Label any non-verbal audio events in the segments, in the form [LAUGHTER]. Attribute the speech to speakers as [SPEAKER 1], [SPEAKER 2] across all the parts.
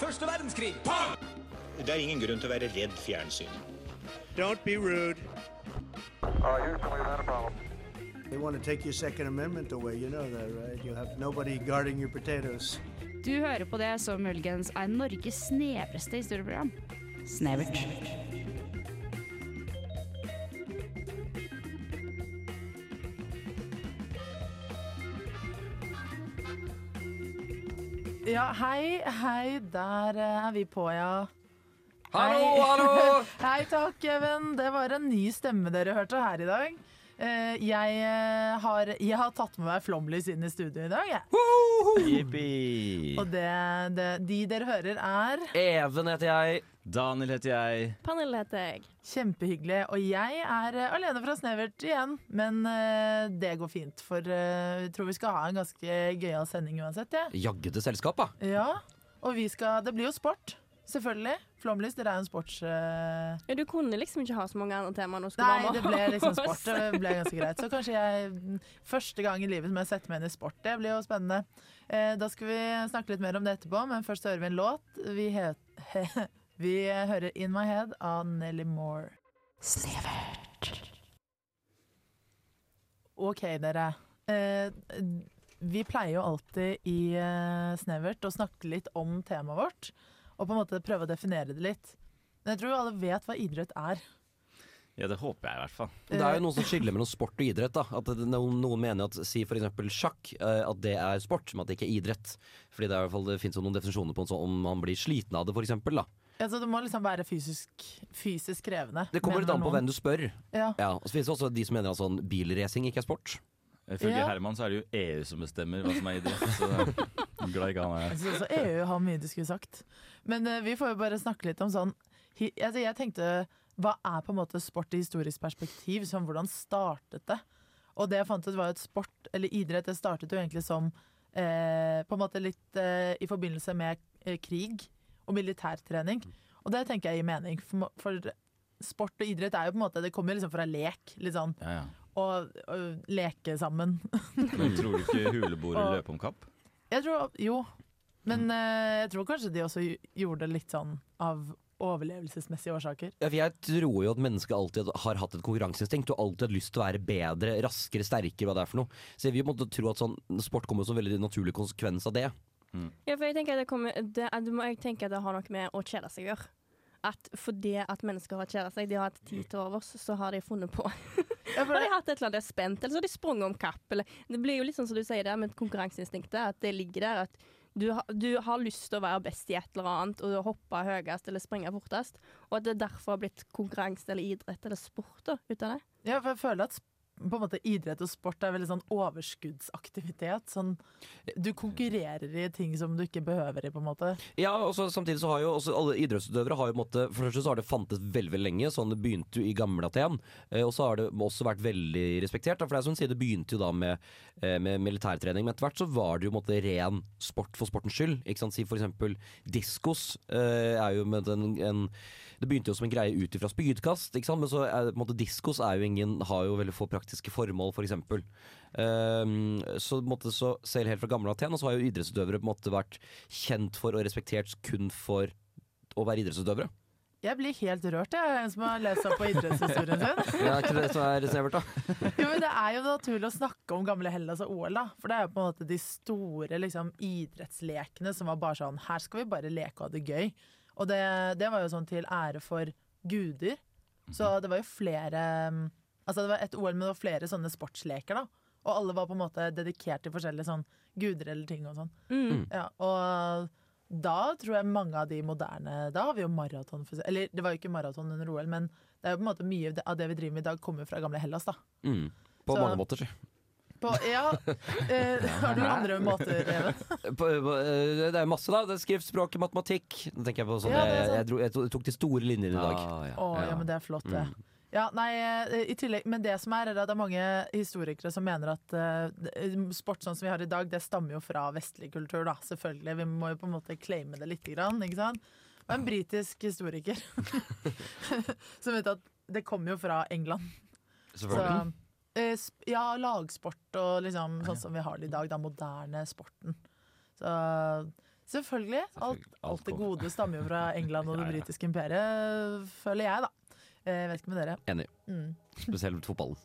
[SPEAKER 1] Første verdenskrig.
[SPEAKER 2] Det er ingen grunn til å være redd fjernsyn.
[SPEAKER 3] Don't be rude.
[SPEAKER 4] Uh, Houston, we've had a problem.
[SPEAKER 5] They want to take your Second Amendment away. You know that, right? You have nobody guarding your potatoes.
[SPEAKER 6] Du hører på det som muligens er Norges snevreste historieprogram. Snevert.
[SPEAKER 7] Ja, hei, hei, der eh, er vi på, ja.
[SPEAKER 8] Hallo,
[SPEAKER 7] Hei.
[SPEAKER 8] hallo!
[SPEAKER 7] Hei takk, Even. Det var en ny stemme dere hørte her i dag. Eh, Jeg, eh, har, jeg har tatt med meg flomlys inn i studio i dag, jeg.
[SPEAKER 9] Jippi!
[SPEAKER 7] Og det, det, de dere hører, er
[SPEAKER 8] Even heter jeg.
[SPEAKER 9] Daniel heter jeg.
[SPEAKER 10] Pernille heter jeg.
[SPEAKER 7] kjempehyggelige. Og jeg er eh, alene fra Snevert igjen, men eh, det går fint. For eh, vi tror vi skal ha en ganske gøyal sending uansett, jeg.
[SPEAKER 8] Jaggu til selskap, da.
[SPEAKER 7] Ja. Og vi skal Det blir jo sport, selvfølgelig. Flomlys, dere er jo en sports... eh,
[SPEAKER 10] Ja, du kunne liksom ikke ha så mange andre temaer nå. skulle
[SPEAKER 7] Nei,
[SPEAKER 10] mamma
[SPEAKER 7] det ble
[SPEAKER 10] [LAUGHS] ha
[SPEAKER 7] liksom
[SPEAKER 10] oss.
[SPEAKER 7] sport. Det ble ganske greit. Så kanskje jeg første gang i livet som jeg setter meg inn i sport. Det blir jo spennende. Eh, da skal vi snakke litt mer om det etterpå, men først hører vi en låt. Vi, he [LAUGHS] vi hører In My Head av Nelly Moore. OK, dere. Eh, vi pleier jo alltid i eh, Snevert å snakke litt om temaet vårt, og på en måte prøve å definere det litt. Men jeg tror jo alle vet hva idrett er.
[SPEAKER 9] Ja, det håper jeg i hvert fall.
[SPEAKER 8] Det er jo noen som skiller mellom sport og idrett. da At det- Noen, noen mener at si for eksempel sjakk, eh, at det er sport, men at det ikke er idrett. Fordi det, er i hvert fall, det finnes jo noen definisjoner på en sånn, om man blir sliten av det, for eksempel. Da.
[SPEAKER 7] Ja, så det må liksom være fysisk, fysisk krevende.
[SPEAKER 8] Det kommer litt
[SPEAKER 7] mener
[SPEAKER 8] an på
[SPEAKER 7] noen.
[SPEAKER 8] hvem du spør.
[SPEAKER 7] Ja.
[SPEAKER 8] Ja, og så finnes det også de som mener at sånn bilracing ikke er sport.
[SPEAKER 9] Ifølge
[SPEAKER 7] Ja.
[SPEAKER 9] Herman så er det jo EU som bestemmer hva som er idrett. Så [LAUGHS] jeg er glad ikke han er
[SPEAKER 7] Jeg
[SPEAKER 9] her.
[SPEAKER 7] synes også EU E har mye du skulle sagt. Men eh, vi får jo bare snakke litt om sånn hi, altså Jeg tenkte hva er på en måte sport i historisk perspektiv? Sånn, hvordan startet det? Og det jeg fant ut var jo at sport, eller idrett, det startet jo egentlig som eh, på en måte litt eh, i forbindelse med eh, krig og militærtrening. Og det tenker jeg gir mening, for, for sport og idrett er jo på en måte Det kommer liksom fra lek, litt sånn.
[SPEAKER 9] Ja, ja.
[SPEAKER 7] Og, og leke sammen.
[SPEAKER 9] Men tror du ikke huleboere løp om kapp?
[SPEAKER 7] Jeg tror, jo, men eh, jeg tror kanskje de også gj- gjorde det litt sånn av overlevelsesmessige årsaker.
[SPEAKER 8] Ja, for jeg tror jo at mennesket alltid har hatt et konkurranseinstinkt og alltid hatt lyst til å være bedre, raskere, sterkere, hva det er for noe. Så jeg vil på en måte tro at sånn, sport kommer som en veldig naturlig konsekvens av det.
[SPEAKER 10] Ja, for jeg tenker at det, kommer, det, at- må jeg tenke at det har noe med å kjede seg å gjøre. At fordi at mennesker har kjedet seg, de har hatt tid til overs, så har de funnet på. [LAUGHS]
[SPEAKER 7] Ja,
[SPEAKER 10] Har
[SPEAKER 7] for
[SPEAKER 10] de
[SPEAKER 7] det,
[SPEAKER 10] hatt et eller annet spent, eller så har de sprunget om kapp. Eller, det blir jo litt sånn som du sier der med konkurranseinstinktet, at det ligger der at du, har- du har lyst til å være best i et eller annet, og hoppe høyest eller springe fortest. Og at det derfor har blitt konkurranse eller idrett eller sport da, ut av det.
[SPEAKER 7] ja, for jeg føler at sp- på en måte idrett og sport er veldig sånn overskuddsaktivitet. Sånn, du konkurrerer i ting som du ikke behøver i, på en måte.
[SPEAKER 8] Ja, og så samtidig så har jo også alle idrettsutøvere har jo på en måte, For det første så har det fantes veldig veldig lenge, sånn det begynte jo i gamle Aten. eh, Og så har det også vært veldig respektert. da, For det er som du sier, det begynte jo da med, eh, med militærtrening, men etter hvert så var det jo på en måte ren sport for sportens skyld. Ikke sant? Si for eksempel diskos. eh, Er jo med en, en, det begynte jo som en greie ut ifra spydkast, ikke sant? men så er, det på en måte, diskos er jo ingen, har jo veldig få praktiske formål, f.eks. For Um, så, på en måte, så selv helt fra gamle Aten og så har jo idrettsutøvere på en måte vært kjent for og respektert kun for å være idrettsutøvere.
[SPEAKER 7] Jeg blir helt rørt, jeg, en som har lest opp på idrettshistorien sin.
[SPEAKER 8] Det er ikke det som er snevert, da.
[SPEAKER 7] Jo, men det er jo naturlig å snakke om gamle Hellas og OL, da. For det er jo på en måte de store liksom, idrettslekene som var bare sånn Her skal vi bare leke og ha det gøy. Og det, det var jo sånn til ære for guder. Så det var jo flere mm, Altså det var et OL, men det var flere sånne sportsleker, da. Og alle var på en måte dedikert til forskjellige sånn guder eller ting og sånn. Ja, og da tror jeg mange av de moderne Da har vi jo maraton, for eksempel. Eller det var jo ikke maraton under OL, men det er jo på en måte mye av det vi driver med i dag, kommer fra gamle Hellas, da.
[SPEAKER 8] Mm. På
[SPEAKER 7] Så-
[SPEAKER 8] mange måter. si.
[SPEAKER 7] På, ja. Eh, har du andre måter, Even?
[SPEAKER 8] På, på, eh, det er masse, da. Det er skriftspråk, matematikk. Nå tenker jeg på sånn
[SPEAKER 7] Ja, det er
[SPEAKER 8] jeg,
[SPEAKER 7] sant.
[SPEAKER 8] jeg, dro, jeg to- tok de store linjene i dag.
[SPEAKER 7] Å, ja, men det er flott, det. Ja, nei, eh, i tillegg, Men det som er, er at det er mange historikere som mener at eh, sport sånn som vi har i dag, det stammer jo fra vestlig kultur, da. Selvfølgelig. Vi må jo på en måte claime det lite grann, ikke sant? Og en britisk historiker [LAUGHS] som vet at det kommer jo fra England. Så,
[SPEAKER 8] Selvfølgelig.
[SPEAKER 7] eh, sp- ja, lagsport og liksom sånn som vi har det i dag, da moderne sporten. Så Selvfølgelig. Alt,
[SPEAKER 9] Selvfølgelig.
[SPEAKER 7] alt det
[SPEAKER 9] Alt kommer.
[SPEAKER 7] gode stammer jo fra England og det
[SPEAKER 9] Ja, ja.
[SPEAKER 7] britiske imperiet, føler jeg, da. Jeg vet ikke med dere.
[SPEAKER 8] Enig.
[SPEAKER 7] Mm.
[SPEAKER 8] Spesielt fotballen.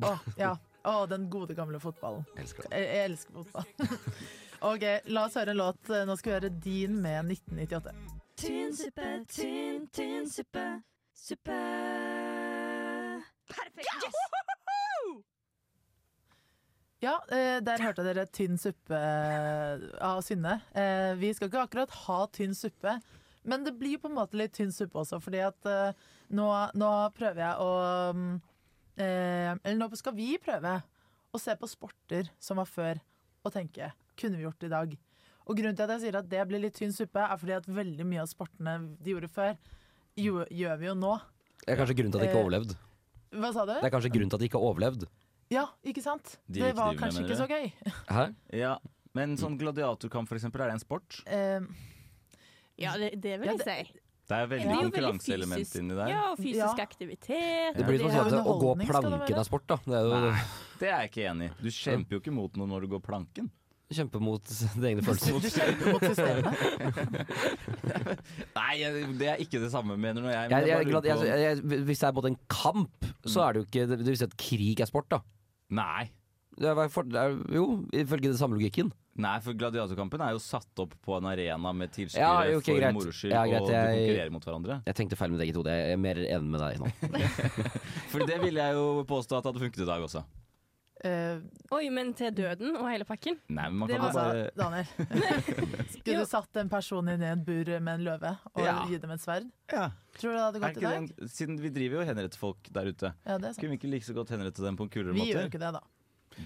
[SPEAKER 7] Å, ja. Å, den gode gamle fotballen.
[SPEAKER 8] Elsker det.
[SPEAKER 7] Jeg, jeg elsker fotball. [LAUGHS] ok, la oss høre en låt. Nå skal vi høre din med 1998.
[SPEAKER 1] Tynnsuppe, tynn, tynnsuppe, suppe. Perfekt! Yes!
[SPEAKER 7] Ja, eh, der hørte dere tynn suppe av Synne. Eh, vi skal ikke akkurat ha tynn suppe, men det blir på en måte litt tynn suppe også, fordi at eh, nå, nå prøver jeg å mm, eh, Eller nå skal vi prøve å se på sporter som var før, og tenke kunne vi gjort det i dag? Og grunnen til at jeg sier at det blir litt tynn suppe, er fordi at veldig mye av sportene de gjorde før, jo, gjør vi jo nå.
[SPEAKER 8] Det er kanskje grunnen til at de ikke har
[SPEAKER 7] Eh,
[SPEAKER 8] overlevd.
[SPEAKER 7] Hva sa du?
[SPEAKER 8] Det er kanskje grunnen til at de ikke har overlevd.
[SPEAKER 7] Ja, ikke sant?
[SPEAKER 9] De
[SPEAKER 7] det
[SPEAKER 9] vi
[SPEAKER 7] var
[SPEAKER 9] driver med,
[SPEAKER 7] kanskje ikke
[SPEAKER 9] mener
[SPEAKER 7] så gøy.
[SPEAKER 8] Hæ?
[SPEAKER 9] Ja, Men sånn gladiatorkamp, for eksempel, er det en sport?
[SPEAKER 7] Eh,
[SPEAKER 10] Ja, det, det vil
[SPEAKER 7] Ja,
[SPEAKER 10] jeg
[SPEAKER 7] det-
[SPEAKER 10] si.
[SPEAKER 9] Det er
[SPEAKER 10] Det
[SPEAKER 9] veldig
[SPEAKER 10] er jo veldig
[SPEAKER 9] konkurranseelement
[SPEAKER 10] fysisk.
[SPEAKER 9] inni der.
[SPEAKER 10] Ja, og fysisk
[SPEAKER 7] Ja.
[SPEAKER 10] aktivitet.
[SPEAKER 8] Det blir litt sånn
[SPEAKER 7] det
[SPEAKER 8] at
[SPEAKER 7] er
[SPEAKER 8] det- å gå
[SPEAKER 7] underholdning, skal det
[SPEAKER 8] planken
[SPEAKER 7] være.
[SPEAKER 8] er sport, da. Det er jo
[SPEAKER 9] Nei, det er jeg ikke enig i. Du kjemper jo ikke mot noe når du går planken.
[SPEAKER 8] kjempe mot [LAUGHS] dine egne følelser.
[SPEAKER 7] du kjemper mot
[SPEAKER 9] [LAUGHS]
[SPEAKER 7] systemet.
[SPEAKER 9] Nei, jeg- det er ikke det samme, mener nå jeg. men
[SPEAKER 8] Jeg, jeg,
[SPEAKER 9] jeg
[SPEAKER 8] er
[SPEAKER 9] bare
[SPEAKER 8] glad- jeg,
[SPEAKER 9] lurer på-
[SPEAKER 8] jeg, hvis det er både en kamp, så er det jo ikke Det vil si at krig er sport, da.
[SPEAKER 9] Nei.
[SPEAKER 8] Det er, for, det er, jo, ifølge den samme logikken.
[SPEAKER 9] Nei, for gladiatorkampen er jo satt opp på en arena med tilskuere
[SPEAKER 8] Ja, jo, ok,
[SPEAKER 9] for
[SPEAKER 8] greit.
[SPEAKER 9] moro skyld,
[SPEAKER 8] Ja, greit,
[SPEAKER 9] og de
[SPEAKER 8] jeg-
[SPEAKER 9] konkurrerer mot hverandre.
[SPEAKER 8] Jeg tenkte feil med begge to. det- Jeg er mer enig med deg nå.
[SPEAKER 9] For det vil jeg jo påstå at hadde funket i dag også.
[SPEAKER 7] Eh,
[SPEAKER 10] Oi, men til døden og hele pakken.
[SPEAKER 9] Nei, men man
[SPEAKER 10] Det
[SPEAKER 9] kan jo
[SPEAKER 10] var-
[SPEAKER 9] bare
[SPEAKER 7] altså, Daniel. Skulle
[SPEAKER 10] Jo.
[SPEAKER 7] du satt en person inn i en bur med en løve og
[SPEAKER 9] Ja.
[SPEAKER 7] gi dem et sverd?
[SPEAKER 9] ja.
[SPEAKER 7] Tror du det hadde
[SPEAKER 9] er
[SPEAKER 7] gått i
[SPEAKER 9] ikke
[SPEAKER 7] dag?
[SPEAKER 9] den, Siden vi driver jo og henretter folk der ute,
[SPEAKER 7] Ja, det er sant.
[SPEAKER 9] kunne vi ikke like så godt henrette dem på en kulere
[SPEAKER 7] Vi gjør
[SPEAKER 9] måte?
[SPEAKER 7] jo ikke det, da.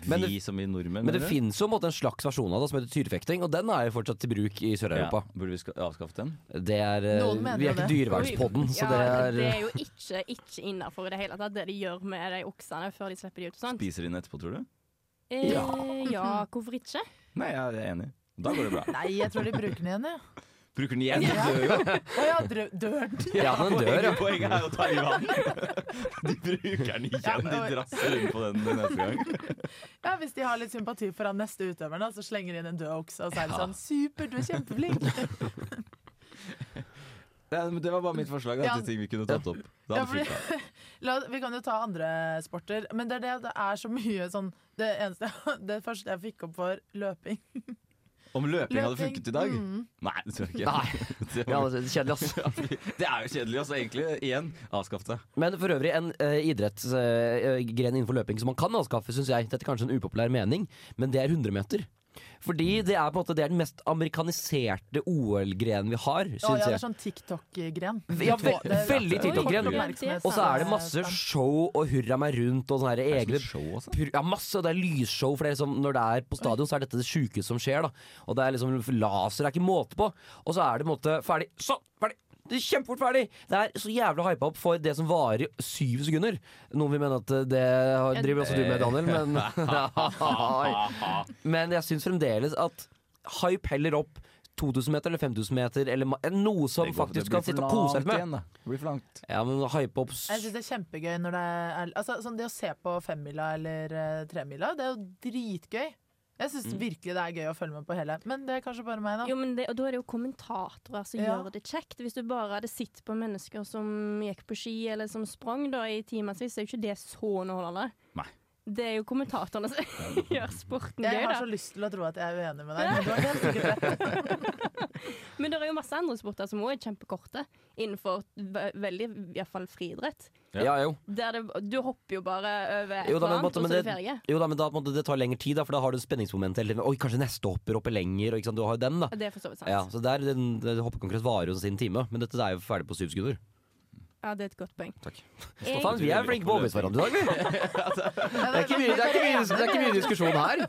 [SPEAKER 8] Men
[SPEAKER 9] Vi
[SPEAKER 8] det-
[SPEAKER 9] som i
[SPEAKER 8] [LAUGHS]
[SPEAKER 9] nordmenn,
[SPEAKER 8] Men det
[SPEAKER 9] mener du?
[SPEAKER 8] fins jo en, måte en slags versjon av det som heter tyrefekting, og den er jo fortsatt til bruk i
[SPEAKER 9] ja,
[SPEAKER 8] Sør-Europa.
[SPEAKER 9] Burde vi ska- avskaffe den?
[SPEAKER 8] Det er eh,
[SPEAKER 7] Noen mener
[SPEAKER 8] Vi er
[SPEAKER 7] jo
[SPEAKER 8] ikke
[SPEAKER 7] det.
[SPEAKER 8] dyrevernspodden, så det
[SPEAKER 10] Ja,
[SPEAKER 8] er
[SPEAKER 10] det er jo ikke, ikke innafor i det hele tatt, det de gjør med de oksene før de slipper de ut. og Sånn.
[SPEAKER 9] Spiser de den etterpå, tror du?
[SPEAKER 10] Eh, ja, hvorfor ikke?
[SPEAKER 9] Nei, ja, jeg er enig. Da går det bra.
[SPEAKER 7] Nei, jeg tror de bruker den igjen, jeg. Ja.
[SPEAKER 9] [LAUGHS] Bruker den igjen? Ja. Dør jo.
[SPEAKER 7] Å ja, drø- dør den?
[SPEAKER 8] Ja, den dør, ja.
[SPEAKER 7] [LAUGHS]
[SPEAKER 9] Poenget- Poenget er jo å ta livet [LAUGHS] av den. De bruker den
[SPEAKER 7] Ja,
[SPEAKER 9] igjen. De
[SPEAKER 7] og-
[SPEAKER 9] drasser rundt på den neste gang.
[SPEAKER 7] [LAUGHS] Ja, Hvis de har litt sympati for han neste utøveren, da, så slenger de inn en død okse, og så er det sånn Super, du er kjempeflink!
[SPEAKER 9] Ja, men det var bare mitt forslag da,
[SPEAKER 7] Ja.
[SPEAKER 9] til ting vi kunne tatt opp. Det
[SPEAKER 7] Ja,
[SPEAKER 9] hadde
[SPEAKER 7] fordi-
[SPEAKER 9] funket.
[SPEAKER 7] La, vi kan jo ta andre sporter, men det er det at det er så mye sånn Det eneste [LAUGHS] Det første jeg fikk opp, var løping.
[SPEAKER 9] Om løping, hadde
[SPEAKER 7] Løping,
[SPEAKER 9] funket i dag?
[SPEAKER 7] mm.
[SPEAKER 9] Nei, det tror jeg ikke.
[SPEAKER 8] Nei.
[SPEAKER 9] Det,
[SPEAKER 8] ja,
[SPEAKER 9] var-
[SPEAKER 8] det er Kjedelig, ass.
[SPEAKER 9] det er jo kjedelig, altså. Egentlig, igjen, avskaff det.
[SPEAKER 8] Men for øvrig, en eh, idrettsgren innenfor løping som man kan avskaffe, syns jeg. Dette er kanskje en upopulær mening, men det er 100 meter. Fordi det er på en måte det er den mest amerikaniserte OL-grenen vi har, syns
[SPEAKER 7] Å ja, det er
[SPEAKER 8] jeg.
[SPEAKER 7] sånn TikTok-gren.
[SPEAKER 8] Ja, ve veldig
[SPEAKER 10] det er-
[SPEAKER 8] TikTok-gren.
[SPEAKER 10] Oi,
[SPEAKER 8] Og så er det masse show og hurra meg rundt og sånne her egne
[SPEAKER 9] altså.
[SPEAKER 8] pur- Ja, masse, og det er lysshow. For det er liksom, når det er på stadion, så er dette det sjukeste som skjer. Da. Og det er liksom laser, det er ikke måte på. Og så er det på en måte ferdig. Sånn! Ferdig! Det er Kjempefort ferdig! Det er så jævla hypa opp for det som varer i syv sekunder. Noen vil mene at eh, det har- driver også du med, Daniel,
[SPEAKER 7] [LAUGHS]
[SPEAKER 8] men Men jeg syns fremdeles at hype heller opp 2000 meter eller 5000 meter, eller ma- noe som faktisk kan sitte og kose seg med.
[SPEAKER 9] Det blir for langt.
[SPEAKER 8] Ja, men hype opp s-
[SPEAKER 7] Jeg synes det er kjempegøy når det er altså, sånn Det å se på femmila eller eh, tremila, det er jo dritgøy. Jeg syns virkelig det er gøy å følge med på hele, men det er kanskje bare meg, da.
[SPEAKER 10] Jo, men det, og Da er det jo kommentatorer som
[SPEAKER 7] Ja.
[SPEAKER 10] gjør det kjekt. Hvis du bare hadde sett på mennesker som gikk på ski eller som sprang da, i timevis, er jo ikke det så underholdende.
[SPEAKER 9] Nei.
[SPEAKER 10] Det er jo kommentatorene som [LAUGHS] gjør sporten
[SPEAKER 7] Jeg
[SPEAKER 10] gøy.
[SPEAKER 7] har
[SPEAKER 10] da
[SPEAKER 7] så lyst til å tro at jeg er uenig med deg, men du har helt sikkert rett.
[SPEAKER 10] Men det er jo masse andre sporter som òg er kjempekorte, innenfor ve veldig, i hvert fall friidrett.
[SPEAKER 8] Ja, jo.
[SPEAKER 10] Der det, du hopper jo bare over et
[SPEAKER 8] Jo da, men,
[SPEAKER 10] eller annet, og
[SPEAKER 8] måtte-
[SPEAKER 10] så
[SPEAKER 8] men
[SPEAKER 10] er det
[SPEAKER 8] det,
[SPEAKER 10] ferie.
[SPEAKER 8] jo da, men da på en måte, det tar lengre tid, da, for da har du spenningsmomentet hele tiden. Oi, kanskje neste hopper hopper lenger, og ikke sant, du har jo den, da.
[SPEAKER 10] Og Det er for så vidt sant.
[SPEAKER 8] Ja,
[SPEAKER 10] Ja.
[SPEAKER 8] så der, den, den Hoppekonkurransen varer jo sin time, men dette er jo ferdig på syv sekunder.
[SPEAKER 10] det er et godt poeng.
[SPEAKER 8] Takk.
[SPEAKER 10] Jeg,
[SPEAKER 8] Faen, vi er flinke på å overbevise hverandre i dag, vi! Det er ikke mye, det
[SPEAKER 7] sånn,
[SPEAKER 8] er ikke mye, det er ikke mye diskusjon her.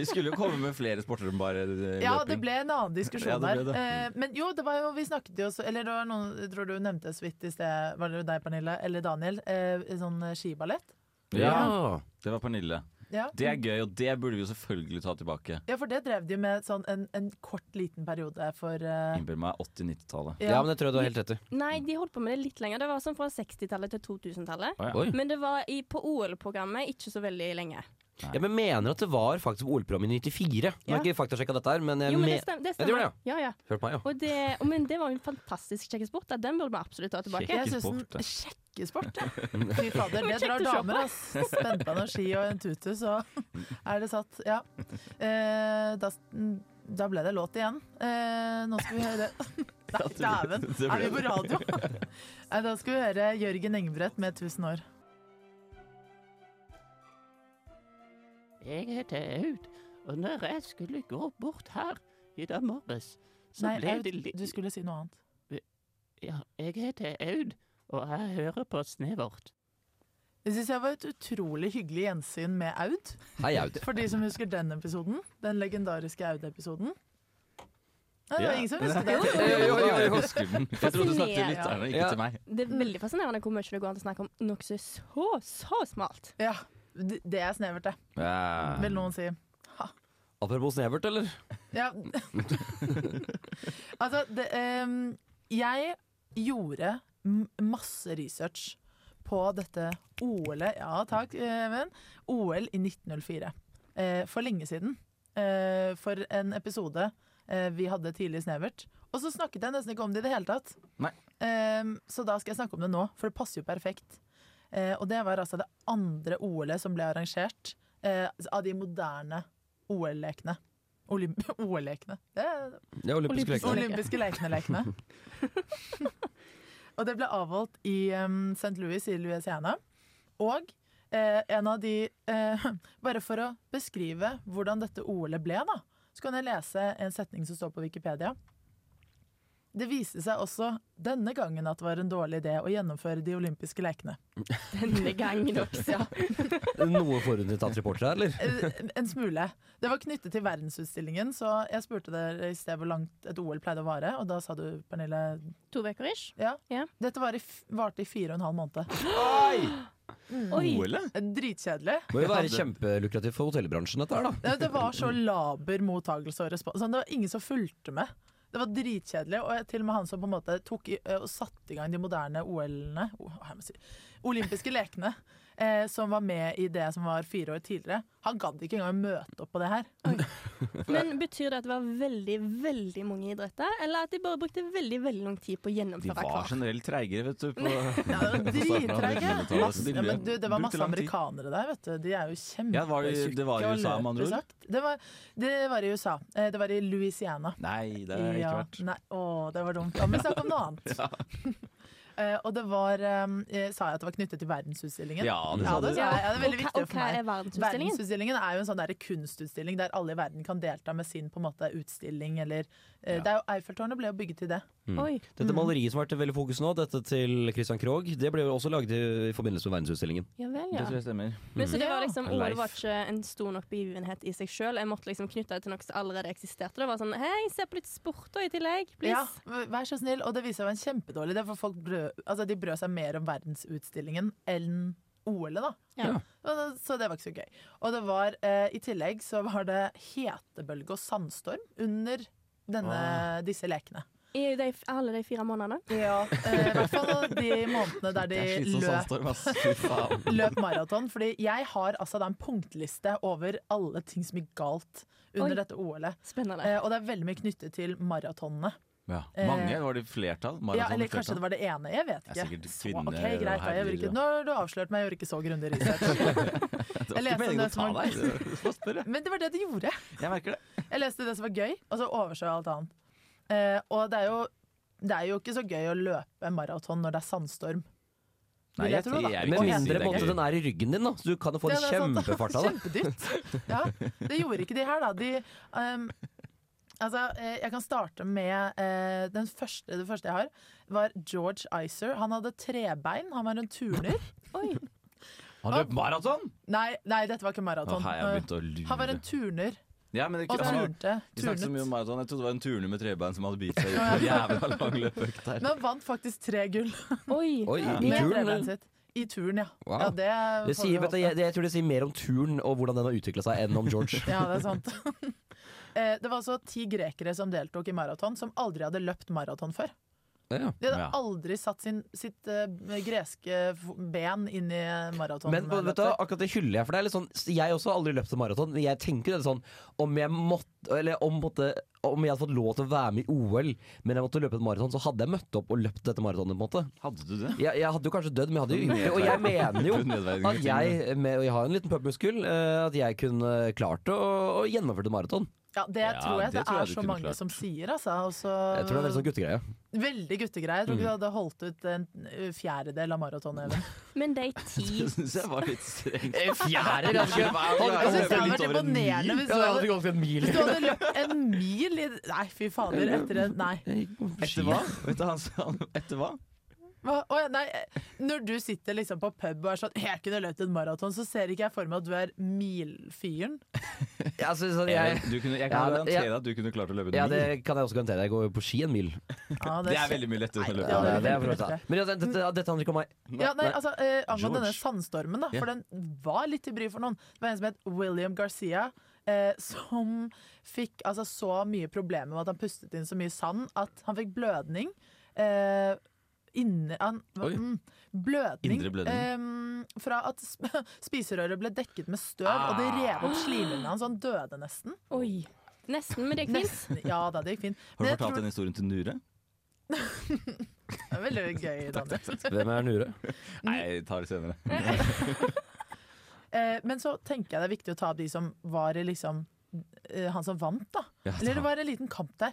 [SPEAKER 9] Vi skulle jo komme med flere sporter enn bare eh,
[SPEAKER 7] Ja, det
[SPEAKER 9] løping.
[SPEAKER 7] ble en annen
[SPEAKER 9] Ja,
[SPEAKER 7] diskusjon
[SPEAKER 9] det
[SPEAKER 7] der.
[SPEAKER 9] ble det.
[SPEAKER 7] Eh, Men jo, det var jo, vi snakket jo også Eller det var noen, jeg tror du nevnte så vidt i sted, var det jo deg, Pernille, eller Daniel, eh, sånn eh, skiballett.
[SPEAKER 8] Ja.
[SPEAKER 9] Det var Pernille.
[SPEAKER 7] Ja.
[SPEAKER 9] Det er gøy, og det burde vi jo selvfølgelig ta tilbake.
[SPEAKER 7] ja, for det drev de jo med sånn en, en kort, liten periode for eh,
[SPEAKER 9] Innbill meg 80-90-tallet.
[SPEAKER 8] ja, men det tror jeg du har helt rett i.
[SPEAKER 10] nei, de holdt på med det litt lenger. Det var sånn fra 60-tallet til 2000-tallet.
[SPEAKER 9] Å ja.
[SPEAKER 8] Oi.
[SPEAKER 10] Men det var i, på OL-programmet ikke så veldig lenge.
[SPEAKER 8] Jeg mener at det var faktisk OL-programmet i 94. Nå har
[SPEAKER 10] Ja.
[SPEAKER 8] jeg ikke faktasjekka dette her, men jeg
[SPEAKER 10] Jo, men det
[SPEAKER 8] me-
[SPEAKER 10] stemmer. Det
[SPEAKER 8] Eh, Ja, det
[SPEAKER 10] stemmer.
[SPEAKER 8] gjorde det,
[SPEAKER 10] ja, ja.
[SPEAKER 8] Hørte meg, ja.
[SPEAKER 10] Og det, og men det var jo en fantastisk kjekkesport. da. Den burde vi absolutt ta tilbake.
[SPEAKER 7] Jeg syns
[SPEAKER 9] Sjekkesport,
[SPEAKER 7] den
[SPEAKER 9] ja.
[SPEAKER 7] Sjekkesport, ja. Fy fader, det
[SPEAKER 10] Kjekt
[SPEAKER 7] drar
[SPEAKER 10] å se
[SPEAKER 7] damer,
[SPEAKER 10] på.
[SPEAKER 7] ass. Spenn på noen ski og en tute, så er det satt. Ja. Eh, da, da ble det låt igjen. Eh, nå skal vi høre [LAUGHS] Nei, dæven!
[SPEAKER 9] Det
[SPEAKER 7] Er vi på
[SPEAKER 9] ble det.
[SPEAKER 7] radio? [LAUGHS] Nei, da skal vi høre Jørgen Engbrett med 'Tusen år'.
[SPEAKER 11] Jeg heter Aud, og når jeg skulle gå bort her i dag morges, så
[SPEAKER 7] Nei,
[SPEAKER 11] ble
[SPEAKER 7] Aud,
[SPEAKER 11] det litt
[SPEAKER 7] du skulle si noe annet.
[SPEAKER 11] Ja, jeg heter Aud, og jeg hører på Snevert.
[SPEAKER 7] Det syns jeg var et utrolig hyggelig gjensyn med Aud.
[SPEAKER 8] Hei, Aud.
[SPEAKER 7] For de som husker den episoden. Den legendariske Aud-episoden. Nei, det
[SPEAKER 9] Ja.
[SPEAKER 7] var ingen som husker den.
[SPEAKER 9] Jo, jo, jo, jeg husker den. Jeg trodde du snakket til lytterne, ikke
[SPEAKER 8] Ja.
[SPEAKER 9] til meg.
[SPEAKER 10] Det er veldig fascinerende hvor mye det går an å snakke om noe som er så, så smalt.
[SPEAKER 7] Ja, det det er snevert, det. Vil noen si.
[SPEAKER 8] Apropos snevert, eller?
[SPEAKER 7] Ja. [LAUGHS] altså, det, em, jeg gjorde m- masse research på dette OL-et Ja takk, Even. OL i 1904. Eh, for lenge siden. Eh, for en episode eh, vi hadde tidlig i snevert. Og så snakket jeg nesten ikke om det i det hele tatt.
[SPEAKER 9] Nei.
[SPEAKER 7] Em, så da skal jeg snakke om det nå, for det passer jo perfekt. Eh, og det var altså det andre OL-et som ble arrangert eh, av de moderne OL-lekene. Olymp [LAUGHS] OL-lekene. Det er
[SPEAKER 8] Det er olympiske
[SPEAKER 10] Olympiske
[SPEAKER 8] leker.
[SPEAKER 10] leker.
[SPEAKER 7] olympiske lekene-lekene. [LAUGHS] og det ble avholdt i em, St. Louis i Louisiana. Og eh, en av de eh, [LAUGHS] Bare for å beskrive hvordan dette OL-et ble, da, så kan jeg lese en setning som står på Wikipedia. Det viste seg også denne gangen at det var en dårlig idé å gjennomføre de olympiske lekene.
[SPEAKER 10] Denne gangen også. Ja.
[SPEAKER 8] Noe forutinntatt reporter her, eller?
[SPEAKER 7] Eh, En smule. Det var knyttet til verdensutstillingen, så jeg spurte dere i sted hvor langt et OL pleide å vare, og da sa du, Pernille,
[SPEAKER 10] To uker ish.
[SPEAKER 7] ja.
[SPEAKER 10] Ja.
[SPEAKER 7] Dette var i, f- varte i fire og en halv måned. Eh,
[SPEAKER 10] Oi!
[SPEAKER 9] OL-et?
[SPEAKER 7] Dritkjedelig.
[SPEAKER 8] Må jo være kjempelukrativt for hotellbransjen, dette her, da.
[SPEAKER 7] Det, det var så laber mottagelse og respons. Sånn, det var ingen som fulgte med. Det var dritkjedelig, og jeg- til og med han som på en måte tok i, eh, og satte i gang de moderne OL-ene oh, jeg må si, Olympiske lekene, eh, som var med i det som var fire år tidligere. Han gadd ikke engang møte opp på det her.
[SPEAKER 10] Men betyr det at det var veldig, veldig mange idretter, eller at de bare brukte veldig veldig lang tid på å
[SPEAKER 9] De
[SPEAKER 10] gjennomføre
[SPEAKER 9] var sånn-
[SPEAKER 10] hver?
[SPEAKER 9] generelt treigere, vet du. På,
[SPEAKER 7] Ja, det var drittreige. Masse- Ja, men du, det var
[SPEAKER 9] Brukte
[SPEAKER 7] masse
[SPEAKER 9] lang tid.
[SPEAKER 7] amerikanere der, vet du. De er jo
[SPEAKER 9] Ja, var det- det var i
[SPEAKER 7] og
[SPEAKER 9] USA, med
[SPEAKER 7] løper
[SPEAKER 9] andre ord?
[SPEAKER 7] sakte. Det var, det var i USA. Eh, Det var i Louisiana.
[SPEAKER 9] Nei, det har jeg ikke
[SPEAKER 7] Ja,
[SPEAKER 9] vært.
[SPEAKER 7] Nei, å, det var dumt. Ja, men snakk om noe
[SPEAKER 9] [LAUGHS]
[SPEAKER 7] annet. Eh, og det var eh, Sa jeg at det var knyttet til verdensutstillingen?
[SPEAKER 9] Ja, det
[SPEAKER 7] Ja,
[SPEAKER 9] sa du.
[SPEAKER 7] det, sa jeg. ja, det er veldig
[SPEAKER 10] Og hva-
[SPEAKER 7] viktig
[SPEAKER 10] og
[SPEAKER 7] for
[SPEAKER 10] hva
[SPEAKER 7] meg.
[SPEAKER 10] er verdensutstillingen?
[SPEAKER 7] Verdensutstillingen er jo en sånn der kunstutstilling der alle i verden kan delta med sin på en måte utstilling. Eller, eh,
[SPEAKER 9] Ja.
[SPEAKER 7] det er jo, Eiffeltårnet ble jo bygget til det.
[SPEAKER 8] Mm.
[SPEAKER 10] Oi.
[SPEAKER 8] Dette
[SPEAKER 7] Mm.
[SPEAKER 8] maleriet som har vært veldig fokus nå, dette til Christian Krogh, det ble jo også laget i forbindelse med verdensutstillingen.
[SPEAKER 10] Ja vel,
[SPEAKER 9] Det
[SPEAKER 10] ja.
[SPEAKER 9] tror jeg stemmer.
[SPEAKER 10] Men så det var
[SPEAKER 7] Ja.
[SPEAKER 10] liksom, OL var
[SPEAKER 9] Leif.
[SPEAKER 10] ikke en stor nok begivenhet i seg sjøl. Jeg måtte liksom knytte det til noe som allerede eksisterte. Det var sånn Hei, se på litt sport da, i tillegg, please.
[SPEAKER 7] Ja, v- vær så snill. Og det viser seg å være en kjempedårlig idé, for folk brød, altså, de brød seg mer om verdensutstillingen enn OL-et, da.
[SPEAKER 10] Ja.
[SPEAKER 7] Og da- Så det var ikke så gøy. Og det var, eh, i tillegg så var det hetebølge og sandstorm under
[SPEAKER 9] Ah.
[SPEAKER 7] denne, disse lekene.
[SPEAKER 10] I de, alle de fire månedene.
[SPEAKER 7] Ja, eh, I hvert fall de månedene der
[SPEAKER 9] Det er
[SPEAKER 7] de
[SPEAKER 9] slitsom
[SPEAKER 7] løp
[SPEAKER 9] sandstorm, ass. Fy faen.
[SPEAKER 7] løp maraton. Fordi jeg har altså da en punktliste over alle ting som gikk galt under
[SPEAKER 10] Oi.
[SPEAKER 7] dette OL-et.
[SPEAKER 10] [LAUGHS] Spennende.
[SPEAKER 7] Eh, og det er veldig mye knyttet til maratonene.
[SPEAKER 9] Ja.
[SPEAKER 7] Eh,
[SPEAKER 9] Mange? Var det flertall? Maraton,
[SPEAKER 7] Ja, eller
[SPEAKER 9] flertall?
[SPEAKER 7] kanskje det var det ene, jeg vet
[SPEAKER 9] Det
[SPEAKER 7] ikke.
[SPEAKER 9] er sikkert
[SPEAKER 7] Så,
[SPEAKER 9] kvinner
[SPEAKER 7] ok, greit,
[SPEAKER 9] og
[SPEAKER 7] da, jeg gjorde
[SPEAKER 9] herrer,
[SPEAKER 7] ikke, nå har du avslørt meg, jeg gjorde ikke så grundig research.
[SPEAKER 9] [LAUGHS] Det
[SPEAKER 7] Jeg leste
[SPEAKER 9] var ikke meningen
[SPEAKER 7] det
[SPEAKER 9] å ta
[SPEAKER 7] som var-
[SPEAKER 9] deg. Det var spørre.
[SPEAKER 7] Men det var det de gjorde.
[SPEAKER 9] Jeg merker det.
[SPEAKER 7] Jeg leste det som var gøy, og så overså jeg alt annet. Eh, og det er, jo, det er jo ikke så gøy å løpe maraton når det er sandstorm. Vil
[SPEAKER 9] Nei,
[SPEAKER 7] jeg
[SPEAKER 9] jeg,
[SPEAKER 7] tro, da.
[SPEAKER 9] jeg, vil
[SPEAKER 8] Med
[SPEAKER 9] ikke si
[SPEAKER 8] mindre
[SPEAKER 9] det er
[SPEAKER 8] måte,
[SPEAKER 9] gøy.
[SPEAKER 8] den er i ryggen din, da, så du kan jo få en
[SPEAKER 7] Ja, det er sant.
[SPEAKER 8] kjempefart av det.
[SPEAKER 7] [LAUGHS] Kjempedyrt. Ja, det gjorde ikke de her, da. De, ehm, altså, eh, jeg kan starte med eh, den første, det første jeg har, var George Icer. Han hadde trebein, han var en
[SPEAKER 9] [LAUGHS]
[SPEAKER 7] turner.
[SPEAKER 10] Oi.
[SPEAKER 9] Har du løpt maraton?
[SPEAKER 7] Nei, nei, dette var ikke
[SPEAKER 9] Å,
[SPEAKER 7] maraton.
[SPEAKER 9] Her har jeg begynt å
[SPEAKER 7] Han var
[SPEAKER 9] lure.
[SPEAKER 7] eh, en turner.
[SPEAKER 9] Ja, men det,
[SPEAKER 7] Og
[SPEAKER 9] han, har-
[SPEAKER 7] turnte.
[SPEAKER 9] vi snakket så mye om
[SPEAKER 7] turnet.
[SPEAKER 9] maraton. Jeg trodde det var en turner med trebein som hadde
[SPEAKER 7] [LAUGHS]
[SPEAKER 9] bitt seg ut på en jævla lang løpeøkt her.
[SPEAKER 7] Men han vant faktisk tre gull
[SPEAKER 10] Oi.
[SPEAKER 8] Oi, i
[SPEAKER 7] med
[SPEAKER 8] turn,
[SPEAKER 7] trebeinet
[SPEAKER 8] eller?
[SPEAKER 7] sitt. I turn, ja.
[SPEAKER 8] Wow.
[SPEAKER 7] ja det,
[SPEAKER 8] det
[SPEAKER 7] får
[SPEAKER 8] sier,
[SPEAKER 7] vi
[SPEAKER 8] vet du,
[SPEAKER 7] håpe.
[SPEAKER 8] jeg, det- jeg tror det sier mer om turen og hvordan den har utvikla seg, enn om
[SPEAKER 7] [LAUGHS]
[SPEAKER 8] George.
[SPEAKER 7] Ja, det er sant. Eh, det var altså ti grekere som deltok i maraton, som aldri hadde løpt maraton før.
[SPEAKER 8] Ja.
[SPEAKER 7] De hadde aldri satt sin, sitt eh, greske f- ben inn i maraton.
[SPEAKER 8] Men vet du, hva, akkurat det hyller jeg, for det er litt sånn Jeg også har aldri løpt en maraton, men jeg tenker det sånn Om jeg måtte Eller om, måtte, om jeg hadde fått lov til å være med i OL, men jeg måtte løpe et maraton, så hadde jeg møtt opp og løpt dette maratonet, på en måte.
[SPEAKER 9] Hadde du det?
[SPEAKER 8] Jeg, jeg hadde jo kanskje dødd, men jeg hadde [LAUGHS] jo ikke Og jeg
[SPEAKER 7] [LAUGHS]
[SPEAKER 9] [LAUGHS]
[SPEAKER 8] mener jo
[SPEAKER 9] Du nedverdiger
[SPEAKER 8] at
[SPEAKER 9] ting, [LAUGHS]
[SPEAKER 8] jeg, med, og jeg har en liten pubmuskel, eh, at jeg kunne klart å, å gjennomføre et maraton.
[SPEAKER 7] Ja, det
[SPEAKER 9] Ja,
[SPEAKER 7] tror jeg
[SPEAKER 9] det
[SPEAKER 7] det,
[SPEAKER 9] tror jeg
[SPEAKER 7] er
[SPEAKER 9] du
[SPEAKER 7] så
[SPEAKER 9] kunne
[SPEAKER 7] mange
[SPEAKER 9] klart.
[SPEAKER 7] som sier, altså. Og så-
[SPEAKER 8] Jeg tror det er veldig sånn guttegreie.
[SPEAKER 7] Veldig guttegreier. Jeg tror ikke du
[SPEAKER 8] Mm.
[SPEAKER 7] hadde holdt ut en eh, fjerdedel av maratonet. Even.
[SPEAKER 10] Men de ti
[SPEAKER 9] Det syns jeg var litt strengt.
[SPEAKER 8] Eh, Fjærer, altså!
[SPEAKER 7] Jeg
[SPEAKER 9] Jeg
[SPEAKER 7] synes det hadde vært
[SPEAKER 9] litt over en mil.
[SPEAKER 7] imponerende hvis
[SPEAKER 8] Ja,
[SPEAKER 7] du
[SPEAKER 8] jeg
[SPEAKER 7] hadde
[SPEAKER 8] hadde gått en mil.
[SPEAKER 7] Hvis du hadde løpt en mil i Nei, fy fader. Etter en Nei.
[SPEAKER 9] Etter hva? Vet du, han sa etter hva?
[SPEAKER 7] Hva? Å, ja, nei. Når du sitter liksom på pub og er sånn 'Jeg kunne løpt en maraton', så ser ikke jeg for meg at du er milfyren.
[SPEAKER 8] Ja, altså, sånn, jeg,
[SPEAKER 9] Eh, Du kunne, jeg
[SPEAKER 8] Ja,
[SPEAKER 9] kan
[SPEAKER 8] men-
[SPEAKER 9] garantere at du kunne klart å løpe en
[SPEAKER 8] ja, det
[SPEAKER 9] mil.
[SPEAKER 8] kan jeg også garantere. Jeg går jo på ski en mil.
[SPEAKER 7] Ja,
[SPEAKER 9] Det er veldig mye lettere enn å
[SPEAKER 7] Ja,
[SPEAKER 9] løpe
[SPEAKER 7] det
[SPEAKER 8] Ja,
[SPEAKER 7] er
[SPEAKER 8] det
[SPEAKER 9] en mil.
[SPEAKER 8] er for så vidt det. Men ja, det- dette, dette handler ikke om meg.
[SPEAKER 7] Ja, nei, altså, eh, angående
[SPEAKER 9] George.
[SPEAKER 7] denne sandstormen, da,
[SPEAKER 9] Ja.
[SPEAKER 7] for den var litt til bry for noen. Det var en som het William Garcia, eh, som fikk altså, så mye problemer med at han pustet inn så mye sand at han fikk blødning. Eh, Inne, han,
[SPEAKER 9] Oi.
[SPEAKER 7] mm, blødning,
[SPEAKER 9] Indre blødning.
[SPEAKER 7] eh, fra at sp spiserøret ble dekket med støv, og det rev
[SPEAKER 9] Ah.
[SPEAKER 7] opp slimhinnene hans, og han døde nesten.
[SPEAKER 10] Oi. Nesten, men det gikk fint.
[SPEAKER 7] Nesten. Ja da, det gikk fint.
[SPEAKER 9] Har du
[SPEAKER 7] Men jeg
[SPEAKER 9] fortalt
[SPEAKER 7] tror-
[SPEAKER 9] den historien
[SPEAKER 7] [LAUGHS]
[SPEAKER 9] til Nure?
[SPEAKER 7] det er Veldig
[SPEAKER 9] [LAUGHS]
[SPEAKER 7] gøy. Daniel.
[SPEAKER 8] Hvem er Nure?
[SPEAKER 9] Nei, jeg tar det senere.
[SPEAKER 7] Eh, men så tenker jeg det er viktig å ta de som var i liksom eh, Han som vant, da.
[SPEAKER 9] [LAUGHS] Ja,
[SPEAKER 7] Eller det
[SPEAKER 9] da-
[SPEAKER 7] var en liten kamp der.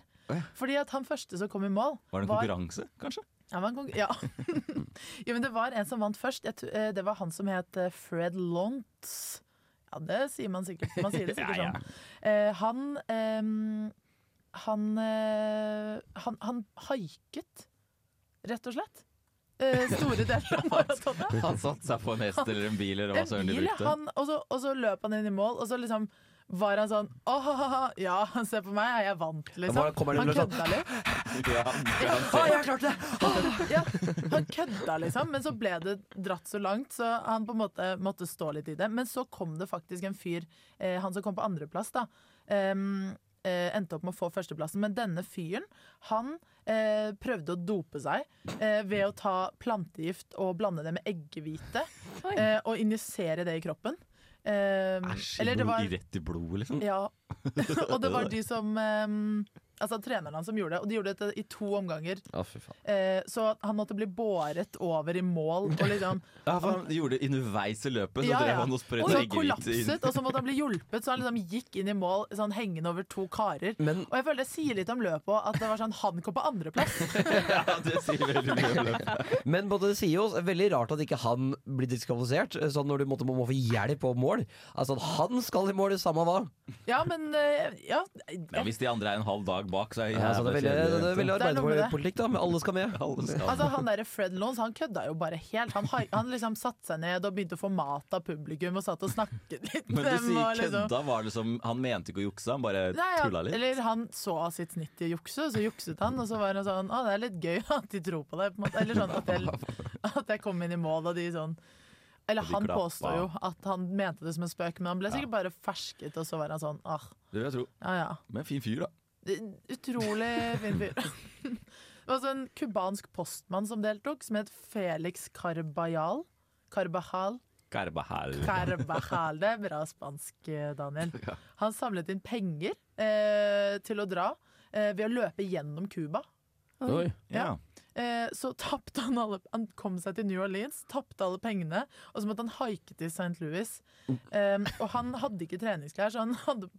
[SPEAKER 7] Fordi at han første som kom i mål
[SPEAKER 9] Var det en
[SPEAKER 7] var-
[SPEAKER 9] konkurranse, kanskje?
[SPEAKER 7] Ja, var en konkur- ja. [LAUGHS] jo, men det var en som vant først. Jeg, tr- eh, det var han som het eh, Fred Lontz. Ja, det sier man sikkert. Man sier det sikkert
[SPEAKER 9] [LAUGHS] Ja, ja.
[SPEAKER 7] sånn. Eh, han ehm, han, eh, han Han haiket, rett og slett. Eh,
[SPEAKER 9] [LAUGHS]
[SPEAKER 7] store deler av maratonet.
[SPEAKER 9] Han satte seg på en hest eller en bil eller hva
[SPEAKER 7] En
[SPEAKER 9] søren de
[SPEAKER 7] bil, ja.
[SPEAKER 9] brukte.
[SPEAKER 7] Han, og, så, og så løp han inn i mål, og så liksom var han sånn Åh, ja, [LAUGHS] se på meg, jeg vant,
[SPEAKER 8] Bare
[SPEAKER 7] liksom.
[SPEAKER 8] kommer det
[SPEAKER 7] Han
[SPEAKER 8] løs,
[SPEAKER 9] sånn
[SPEAKER 8] da.
[SPEAKER 7] kødda litt.
[SPEAKER 9] Ja,
[SPEAKER 7] Å,
[SPEAKER 9] garantert.
[SPEAKER 7] jeg klarte det! Ja, han kødda, liksom. Men så ble det dratt så langt, så han på en måte måtte stå litt i det. Men så kom det faktisk en fyr, eh, han som kom på andreplass, da. em, eh, endte opp med å få førsteplassen, men denne fyren han eh, prøvde å dope seg eh, ved å ta plantegift og blande det med eggehvite
[SPEAKER 10] Oi.
[SPEAKER 7] eh, og injisere det i kroppen. Em,
[SPEAKER 9] Æsj, i
[SPEAKER 7] eller det
[SPEAKER 9] blod-
[SPEAKER 7] var
[SPEAKER 9] i rett i blodet, liksom.
[SPEAKER 7] ja. [LAUGHS] Og det var de som em, Altså treneren hans som gjorde det, og de gjorde dette i to omganger.
[SPEAKER 8] Ja, fy faen.
[SPEAKER 7] Eh, så at han måtte bli båret over i mål. Og
[SPEAKER 9] [LAUGHS]
[SPEAKER 7] liksom,
[SPEAKER 9] Ja, for han gjorde det underveis i løpet, så
[SPEAKER 7] Ja, ja.
[SPEAKER 9] drev han og
[SPEAKER 7] og
[SPEAKER 9] spredte
[SPEAKER 7] så
[SPEAKER 9] eggehvite inn.
[SPEAKER 7] kollapset, og så måtte han bli hjulpet. Så han liksom gikk inn i mål sånn hengende over to karer.
[SPEAKER 8] Men-
[SPEAKER 7] og jeg føler det sier litt om løpet òg, at det var sånn han kom på andreplass.
[SPEAKER 9] [LAUGHS] Ja, det sier veldig mye om løpet.
[SPEAKER 8] Men både det sier jo også, veldig rart at ikke han blir diskvalifisert eh, Sånn når du måtte, må må få hjelp på mål. Altså at han skal i mål, samme hva.
[SPEAKER 7] Ja, men eh, ja,
[SPEAKER 9] Ja, hvis de andre er en halv dag bak, så er jeg
[SPEAKER 8] Ja, altså, det er veldig, det er veldig
[SPEAKER 7] Det er noe med det.
[SPEAKER 8] arbeiderpolitikk, da. Men alle skal med.
[SPEAKER 9] Alle skal.
[SPEAKER 7] Altså Han der Fred Lones han kødda jo bare helt. Han, hai- han liksom satte seg ned og begynte å få mat av publikum og satt og snakket litt
[SPEAKER 9] Men du
[SPEAKER 7] med dem. og
[SPEAKER 9] sier
[SPEAKER 7] liksom-
[SPEAKER 9] kødda var liksom Han mente ikke å jukse, han bare
[SPEAKER 7] Nei, han,
[SPEAKER 9] tulla litt.
[SPEAKER 7] Eller han så sitt snitt i å jukse, så jukset han. Og så var han sånn Å, det er litt gøy [LAUGHS] at de tror på deg. På en måte. Eller sånn at
[SPEAKER 9] [LAUGHS]
[SPEAKER 7] jeg, at jeg kom inn i mål, og de sånn Eller
[SPEAKER 9] Og de
[SPEAKER 7] han
[SPEAKER 9] klappa.
[SPEAKER 7] påstår jo at han mente det som en spøk, men han ble sikkert bare fersket, og så var han sånn Ah,
[SPEAKER 9] Det vil jeg tro.
[SPEAKER 7] ja ja.
[SPEAKER 9] Men fin fyr, da.
[SPEAKER 7] Det- Utrolig fin
[SPEAKER 9] [LAUGHS]
[SPEAKER 7] fyr. Det var også en cubansk postmann som deltok, som het Felix Carbajal. Carbajal.
[SPEAKER 9] Garbahal.
[SPEAKER 7] Carvajal. Det er bra spansk, eh, Daniel.
[SPEAKER 9] Ja.
[SPEAKER 7] Han samlet inn penger eh, til å dra eh, ved å løpe gjennom Cuba.
[SPEAKER 8] Oi.
[SPEAKER 9] Ja.
[SPEAKER 7] Eh, så tapte han alle Han kom seg til New Orleans, tapte alle pengene, og så måtte han haike til St. Louis. Eh, og han hadde ikke treningsklær, så han hadde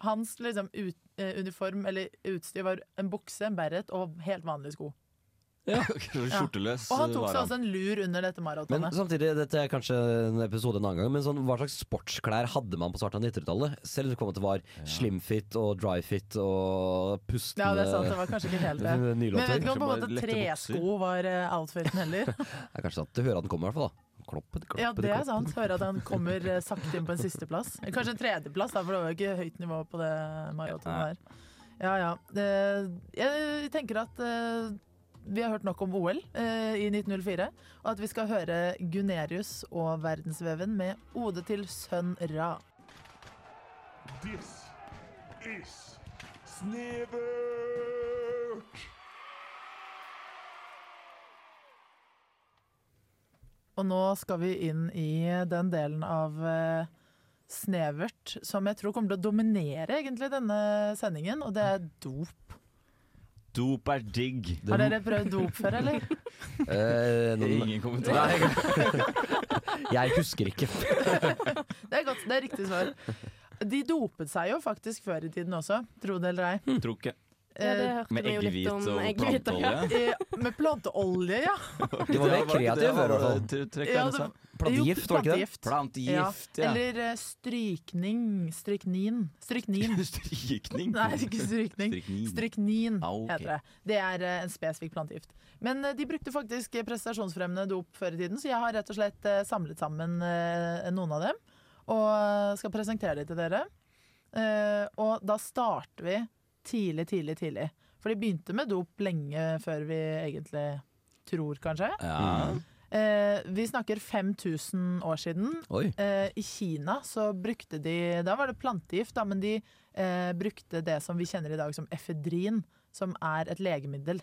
[SPEAKER 7] Hans liksom, ut, eh, uniform eller utstyr var en bukse, en beret og helt vanlige sko.
[SPEAKER 9] [LAUGHS] Skjorteløs
[SPEAKER 7] Og han tok
[SPEAKER 9] var
[SPEAKER 7] seg også en lur under dette
[SPEAKER 8] Men
[SPEAKER 7] maratonet.
[SPEAKER 8] samtidig, dette er kanskje en episode en annen gang, men sånn, hva slags sportsklær hadde man på starten av 90-tallet? Selv om det kom at det var slimfit og dryfit og pustende
[SPEAKER 7] Ja, det er sant, det var kanskje ikke helt det.
[SPEAKER 8] [LAUGHS]
[SPEAKER 7] Men jeg vet ikke om på en måte
[SPEAKER 9] Kanskje bare lette
[SPEAKER 7] tresko var eh, outfiten heller.
[SPEAKER 8] Det er kanskje sant. Du hører at den kommer, i hvert fall. da. Kloppet, kloppet,
[SPEAKER 7] Ja, det er
[SPEAKER 8] kloppet.
[SPEAKER 7] sant. Høre at han kommer eh, sakte inn på en sisteplass. Kanskje en tredjeplass, da, for det var jo ikke høyt nivå på det maratonet der. Ja, ja. Eh, Jeg tenker at eh, vi har hørt nok om OL eh, i 1904, og at vi skal høre Gunerius og Verdensveven med Ode til sønn Ra.
[SPEAKER 3] This is Snevert!
[SPEAKER 7] Og nå skal vi inn i den delen av eh, snevert som jeg tror kommer til å dominere egentlig denne sendingen, og det er dop.
[SPEAKER 9] Dop er digg.
[SPEAKER 7] Har dere prøvd dop før, eller?
[SPEAKER 9] Ingen kommentar.
[SPEAKER 8] Eh, Jeg husker ikke.
[SPEAKER 7] [LAUGHS] Det er godt, det er riktig svar. De dopet seg jo faktisk før i tiden også, tro det eller ei.
[SPEAKER 9] Tror ikke.
[SPEAKER 10] Ja, det
[SPEAKER 7] Eh,
[SPEAKER 10] hørte
[SPEAKER 9] Med
[SPEAKER 10] vi jo litt
[SPEAKER 9] eggehvite
[SPEAKER 10] om.
[SPEAKER 9] og
[SPEAKER 10] eggehvite,
[SPEAKER 7] [LAUGHS]
[SPEAKER 10] ja.
[SPEAKER 9] planteolje.
[SPEAKER 7] eh, Med planteolje, ja.
[SPEAKER 8] De var mer kreative før, i hvert fall.
[SPEAKER 9] Trekk
[SPEAKER 7] Ja,
[SPEAKER 9] denne
[SPEAKER 7] det-
[SPEAKER 9] seg.
[SPEAKER 8] Plantegift, var det ikke det?
[SPEAKER 7] plantegift.
[SPEAKER 9] Plantegift,
[SPEAKER 7] ja.
[SPEAKER 9] ja.
[SPEAKER 7] Eller eh, strykning. Stryknin. Stryknin.
[SPEAKER 9] [LAUGHS] Strykning.
[SPEAKER 7] Nei, ikke strykning.
[SPEAKER 9] Strykning.
[SPEAKER 7] Stryknin
[SPEAKER 9] Ah, ok.
[SPEAKER 7] heter det. Det er eh, en spesifikk plantegift. Men eh, de brukte faktisk eh, prestasjonsfremmende dop før i tiden, så jeg har rett og slett eh, samlet sammen eh, noen av dem. Og eh, skal presentere de til dere. Eh, Og da starter vi tidlig, tidlig, tidlig. For de begynte med dop lenge før vi egentlig tror, kanskje.
[SPEAKER 9] Ja.
[SPEAKER 8] Mm.
[SPEAKER 7] Eh, Vi snakker 5000 år siden.
[SPEAKER 8] Oi.
[SPEAKER 7] Eh, I Kina så brukte de Da var det plantegift, da, men de eh, brukte det som vi kjenner i dag som efedrin, som er et legemiddel.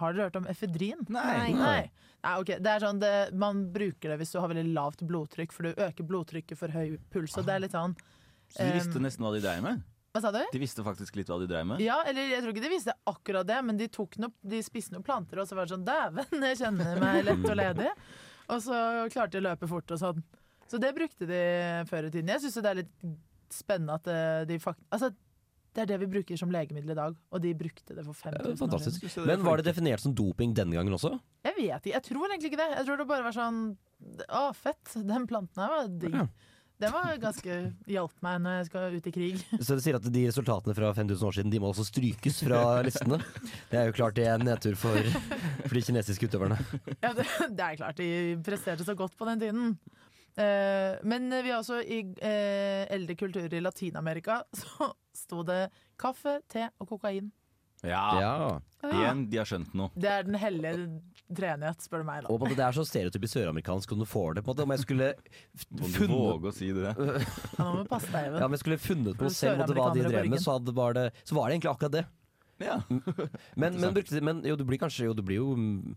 [SPEAKER 7] Har dere hørt om efedrin?
[SPEAKER 9] Mm.
[SPEAKER 10] Nei.
[SPEAKER 7] Nei. Nei, ok. Det er sånn det, man bruker det hvis du har veldig lavt blodtrykk, for du øker blodtrykket for høy puls. Og det er litt sånn
[SPEAKER 9] Så de visste
[SPEAKER 7] Um,
[SPEAKER 9] nesten hva de dreiv med?
[SPEAKER 7] Hva sa du?
[SPEAKER 9] De visste faktisk litt hva de dreiv med?
[SPEAKER 7] Ja, eller jeg tror ikke de visste akkurat det, men de, tok noe, de spiste noen planter, og så var det sånn Dæven, jeg kjenner meg lett og ledig. Og så klarte de å løpe fort og sånn. Så det brukte de før i tiden. Jeg syns det er litt spennende at eh, de fakt... Altså, det er det vi bruker som legemiddel i dag, og de brukte det for
[SPEAKER 8] Ja,
[SPEAKER 7] 5000 år siden.
[SPEAKER 8] Fantastisk. Men var det definert som doping den gangen også?
[SPEAKER 7] Jeg vet ikke. Jeg tror egentlig ikke det. Jeg tror det bare var sånn Å, fett. Den planten her var digg. Den var ganske Hjalp meg når jeg skal ut i krig.
[SPEAKER 8] Så det sier at de resultatene fra 5000 år siden De må også strykes fra listene. Det er jo klart det er en nedtur for, for de kinesiske utøverne.
[SPEAKER 7] Ja, det, [LAUGHS] det er klart, de presterte så godt på den tiden. Eh, men vi har også i eh, eldre kulturer i Latin-Amerika [LAUGHS] så sto det kaffe, te og kokain.
[SPEAKER 9] Ja.
[SPEAKER 8] Ja.
[SPEAKER 9] Igjen, de har skjønt noe.
[SPEAKER 7] Det er den hellige treenighet, spør du meg.
[SPEAKER 8] Og
[SPEAKER 7] da.
[SPEAKER 8] på en måte, Det er så stereotypisk søramerikansk om du får det. på en måte Om jeg skulle
[SPEAKER 9] Må du
[SPEAKER 8] funnet, Mm.
[SPEAKER 9] våge å si det?
[SPEAKER 7] Ja, nå må du passe deg,
[SPEAKER 8] ja,
[SPEAKER 7] Even.
[SPEAKER 8] om jeg skulle funnet på selv på en måte, hva de
[SPEAKER 7] Søramerikanere på
[SPEAKER 8] drev med,
[SPEAKER 7] ryggen.
[SPEAKER 8] så, hadde, var det, så var det egentlig akkurat det.
[SPEAKER 9] Ja.
[SPEAKER 8] Men, men, brukte, de- men jo, du blir kanskje Jo, du blir jo, mm,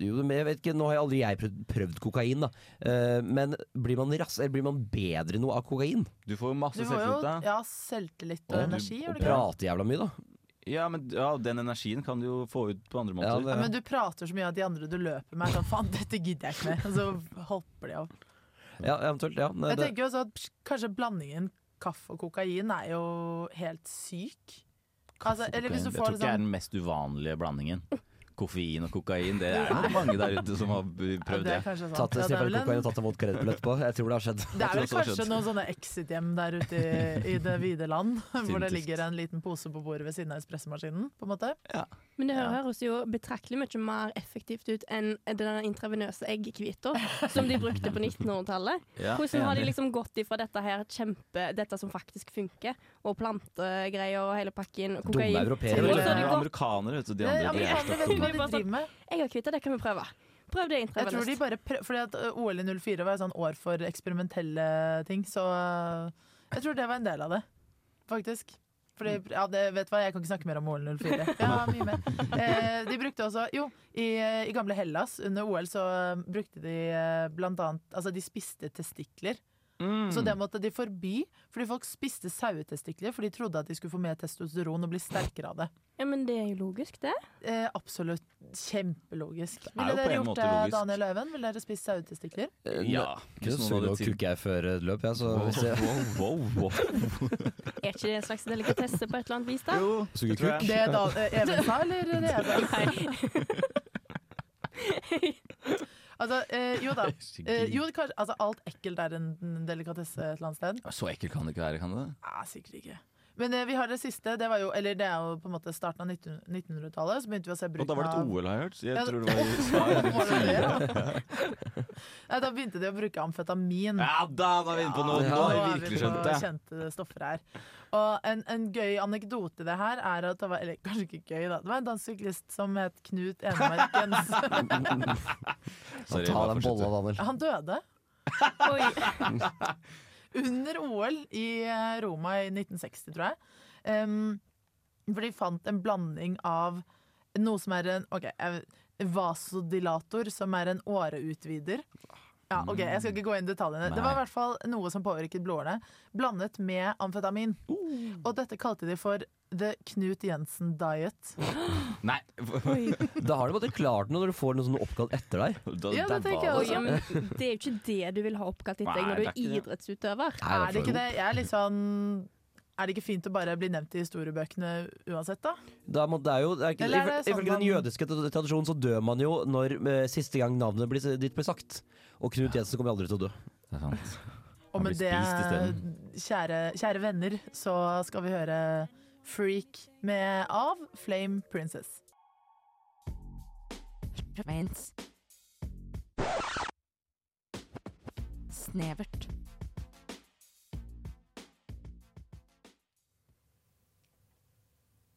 [SPEAKER 8] jo men Jeg vet ikke, nå har jeg aldri jeg prøvd, prøvd kokain, da. Eh, men blir man, rass, eller blir man bedre noe av kokain?
[SPEAKER 9] Du får jo
[SPEAKER 7] Du
[SPEAKER 9] masse
[SPEAKER 7] får jo
[SPEAKER 9] selvtillit da.
[SPEAKER 7] ja, selvtillit og
[SPEAKER 8] Og-
[SPEAKER 7] energi, gjør
[SPEAKER 8] Og
[SPEAKER 7] du ikke? det?
[SPEAKER 8] prater jævla mye, da.
[SPEAKER 9] Ja, men ja, den energien kan du jo få ut på andre
[SPEAKER 8] Ja,
[SPEAKER 9] måter.
[SPEAKER 8] det-
[SPEAKER 7] Ja, men du prater så mye at de andre du løper med, er sånn faen, dette gidder jeg ikke mer. Og så hopper de av.
[SPEAKER 8] Ja, eventuelt. Ja. Nei,
[SPEAKER 7] Jeg
[SPEAKER 8] det,
[SPEAKER 7] tenker jo også at pss, kanskje blandingen kaffe og kokain er jo helt syk. Altså, eller hvis du
[SPEAKER 9] Jeg
[SPEAKER 7] får
[SPEAKER 9] tror ikke det er
[SPEAKER 7] liksom
[SPEAKER 9] den mest uvanlige blandingen. Koffein og kokain, det er det mange der ute som har b-
[SPEAKER 7] ja,
[SPEAKER 9] prøvd
[SPEAKER 7] det
[SPEAKER 9] det.
[SPEAKER 7] er kanskje sant.
[SPEAKER 8] tatt en
[SPEAKER 7] Ja, det er
[SPEAKER 8] sniffer
[SPEAKER 7] vel en-
[SPEAKER 8] kokain og tatt en vodka Red Bull etterpå. Jeg tror det har skjedd.
[SPEAKER 7] Det er vel
[SPEAKER 9] tror jeg også har
[SPEAKER 7] kanskje
[SPEAKER 9] skjønt.
[SPEAKER 7] noen sånne exit-hjem der ute i, i det vide land, hvor det
[SPEAKER 9] Typisk.
[SPEAKER 7] ligger en liten pose på bordet ved siden av espressomaskinen. på en måte.
[SPEAKER 10] Men det
[SPEAKER 9] Ja.
[SPEAKER 10] høres jo betraktelig mye mer effektivt ut enn den intravenøse eggehvita
[SPEAKER 7] [LAUGHS]
[SPEAKER 10] som de brukte på 1900-tallet.
[SPEAKER 9] Ja,
[SPEAKER 10] Hvordan har de
[SPEAKER 9] enig.
[SPEAKER 10] liksom gått ifra dette her kjempe, dette som faktisk funker, og plantegreier og hele pakken, og
[SPEAKER 8] Dumme
[SPEAKER 10] kokain
[SPEAKER 8] europeere.
[SPEAKER 10] Og
[SPEAKER 9] Det
[SPEAKER 10] så har
[SPEAKER 9] er
[SPEAKER 10] de gått
[SPEAKER 9] Amerikanere, vet du. De
[SPEAKER 7] Det,
[SPEAKER 9] andre, de er
[SPEAKER 7] amerikanerne vet
[SPEAKER 9] slags
[SPEAKER 7] ikke
[SPEAKER 9] dumme.
[SPEAKER 7] hva de driver med.
[SPEAKER 10] Eggehvite, det kan vi prøve. Prøv det
[SPEAKER 7] Jeg tror de
[SPEAKER 10] intravenøst.
[SPEAKER 7] bare prø fordi at ø, OL i 04 var et sånn år for eksperimentelle ting, så ø, jeg tror det var en del av det, faktisk. Fordi, ja, det, vet du hva, Jeg kan ikke snakke mer om OL 04. Ja, mye mer. Eh, de brukte også Jo, i, eh, i gamle Hellas under OL så ø, brukte de ø, blant annet Altså, de spiste testikler. Så det måtte de forby, fordi folk spiste sauetestikler, for de trodde at de skulle få mer testosteron og bli sterkere av det.
[SPEAKER 10] Ja, men det er jo logisk, det.
[SPEAKER 7] Eh, absolutt kjempelogisk.
[SPEAKER 9] er jo
[SPEAKER 7] Ville
[SPEAKER 9] på
[SPEAKER 7] dere
[SPEAKER 9] en
[SPEAKER 7] gjort
[SPEAKER 9] måte
[SPEAKER 7] det,
[SPEAKER 9] logisk.
[SPEAKER 7] Daniel Øven? Ville dere spist sauetestikler?
[SPEAKER 8] Eh,
[SPEAKER 9] Ja.
[SPEAKER 8] Hvis noen hadde tid jeg før et løp, jeg, så hvis
[SPEAKER 9] [LAUGHS]
[SPEAKER 8] jeg
[SPEAKER 9] Wow, wow, wow.
[SPEAKER 10] Er ikke det en slags delikatesse på et eller annet vis, da?
[SPEAKER 9] Jo,
[SPEAKER 8] Suger
[SPEAKER 9] det tror jeg.
[SPEAKER 7] [LAUGHS] Det da, eh, Even sa, eller det jeg sa? [LAUGHS] Altså, eh, jo da. Eh, jo, kanskje, altså, alt ekkelt er en delikatesse et eller annet sted.
[SPEAKER 9] Så ekkelt kan det ikke være, kan det?
[SPEAKER 7] Ja, sikkert ikke. Men eh, vi har det siste. Det var jo, eller det er jo på en måte starten av 19 1900-tallet. Så begynte vi å se
[SPEAKER 9] Og da
[SPEAKER 7] bruken
[SPEAKER 9] var det
[SPEAKER 7] av
[SPEAKER 9] et OL, har jeg hørt. så Jeg
[SPEAKER 7] [LAUGHS] Ja,
[SPEAKER 9] tror det var i
[SPEAKER 7] Var det det, ja? Nei, da begynte de å bruke amfetamin.
[SPEAKER 9] Ja da, da er vi inne på noe! Nå
[SPEAKER 7] Ja,
[SPEAKER 9] har
[SPEAKER 7] nå
[SPEAKER 9] vi
[SPEAKER 7] er vi
[SPEAKER 9] virkelig
[SPEAKER 7] på
[SPEAKER 9] skjønt det.
[SPEAKER 7] Kjente stoffer her. Og en, en gøy anekdote i det her er at det var Eller kanskje ikke gøy, da. Det var en dansk syklist som het Knut Enemark Jensen. [LAUGHS]
[SPEAKER 9] Sorry,
[SPEAKER 8] Ta
[SPEAKER 9] bare
[SPEAKER 8] den
[SPEAKER 9] fortsett.
[SPEAKER 8] bolla, Daniel.
[SPEAKER 7] Han døde
[SPEAKER 10] Oi.
[SPEAKER 7] under OL i eh, Roma i 1960, tror jeg. Um, for de fant en blanding av Noe som er en ok, jeg- vasodilator, som er en åreutvider. Ja, ok, Jeg skal ikke gå inn i detaljene. Det var i hvert fall noe som påvirket blodårene, blandet med amfetamin. Og dette kalte de for The Knut Jensen Diet.
[SPEAKER 9] Nei. [LAUGHS]
[SPEAKER 8] da har du på en måte klart noe når du får noe sånn oppkalt etter deg.
[SPEAKER 7] Ja, det tenker jeg
[SPEAKER 10] Oi, ja,
[SPEAKER 8] [LAUGHS]
[SPEAKER 10] men
[SPEAKER 7] også.
[SPEAKER 10] det er jo ikke det du vil ha oppkalt etter deg
[SPEAKER 8] Nei,
[SPEAKER 10] når
[SPEAKER 8] det
[SPEAKER 10] du
[SPEAKER 8] er
[SPEAKER 10] er
[SPEAKER 8] ikke det.
[SPEAKER 10] idrettsutøver.
[SPEAKER 8] Nei,
[SPEAKER 7] Er det ikke det? Jeg er litt sånn Er det ikke fint å bare bli nevnt i historiebøkene uansett, da?
[SPEAKER 8] Da må, det er jo, det er ikke,
[SPEAKER 7] Eller er det sånn
[SPEAKER 8] ifølge den
[SPEAKER 7] man-
[SPEAKER 8] jødiske tra- tradisjonen så dør man jo når eh, siste gang navnet blir, ditt blir sagt. Og Knut Jensen kommer aldri til å dø.
[SPEAKER 9] Det er sant.
[SPEAKER 7] Og med det,
[SPEAKER 8] isteden.
[SPEAKER 7] kjære, kjære venner, så skal vi høre Freak med av Flame Princess.
[SPEAKER 12] Prevents. Snevert.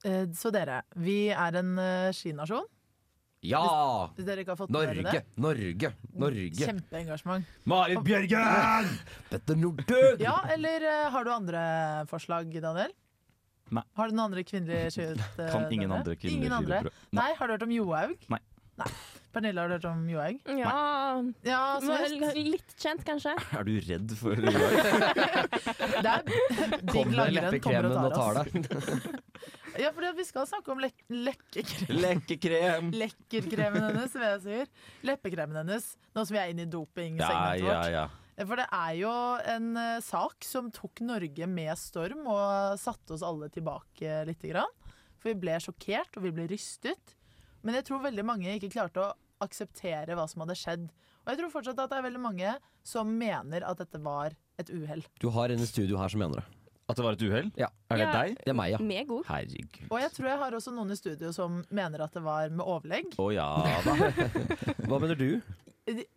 [SPEAKER 7] Eh, Så dere, vi er en eh, skinasjon.
[SPEAKER 8] Ja!
[SPEAKER 7] Hvis dere ikke har fått med dere
[SPEAKER 8] Norge,
[SPEAKER 7] det.
[SPEAKER 8] Norge, Norge.
[SPEAKER 7] Kjempeengasjement.
[SPEAKER 8] Marit Bjørgen!
[SPEAKER 7] [LAUGHS]
[SPEAKER 8] Petter Northug!
[SPEAKER 7] Ja, eller eh, har du andre forslag, Daniel?
[SPEAKER 9] Nei.
[SPEAKER 7] Har du noen andre
[SPEAKER 9] [LAUGHS]
[SPEAKER 7] kvinnelige skiutøvere?
[SPEAKER 9] Kan ingen andre kvinnelige
[SPEAKER 7] Ingen andre?
[SPEAKER 9] skiutøvere.
[SPEAKER 7] Nei. Har du hørt om Johaug?
[SPEAKER 9] Nei.
[SPEAKER 7] Pernille, har du hørt om Johaug?
[SPEAKER 10] Ja,
[SPEAKER 7] så
[SPEAKER 10] Men Litt kjent, kanskje.
[SPEAKER 9] Er du redd for Johaug?
[SPEAKER 7] Det
[SPEAKER 9] [LAUGHS]
[SPEAKER 7] er digg
[SPEAKER 9] Kom deg
[SPEAKER 7] langrenn kommer og tar oss. [LAUGHS]
[SPEAKER 9] deg.
[SPEAKER 7] Ja, for vi skal snakke om lek lekkekrem.
[SPEAKER 9] Lekkekrem!
[SPEAKER 7] Lekkerkremen hennes, som jeg sier. Leppekremen hennes, nå som vi er inne i
[SPEAKER 9] [LAUGHS] Ja,
[SPEAKER 7] dopingsegmentet
[SPEAKER 9] ja, ja.
[SPEAKER 7] vårt. For det er jo en eh, sak som tok Norge med storm og satte oss alle tilbake lite grann. For vi ble sjokkert, og vi ble rystet. Men jeg tror veldig mange ikke klarte å akseptere hva som hadde skjedd. Og jeg tror fortsatt at det er veldig mange som mener at dette var et uhell.
[SPEAKER 8] Du har en i studio her som mener det.
[SPEAKER 9] At det var et uhell?
[SPEAKER 8] Ja.
[SPEAKER 9] Er det Ja. deg?
[SPEAKER 8] Det er meg, ja.
[SPEAKER 7] Mm.
[SPEAKER 10] Meg òg.
[SPEAKER 9] Herregud.
[SPEAKER 7] Og jeg tror jeg har også noen i studio som mener at det var med overlegg.
[SPEAKER 9] Å ja
[SPEAKER 7] [LAUGHS]
[SPEAKER 9] da.
[SPEAKER 8] Hva mener du?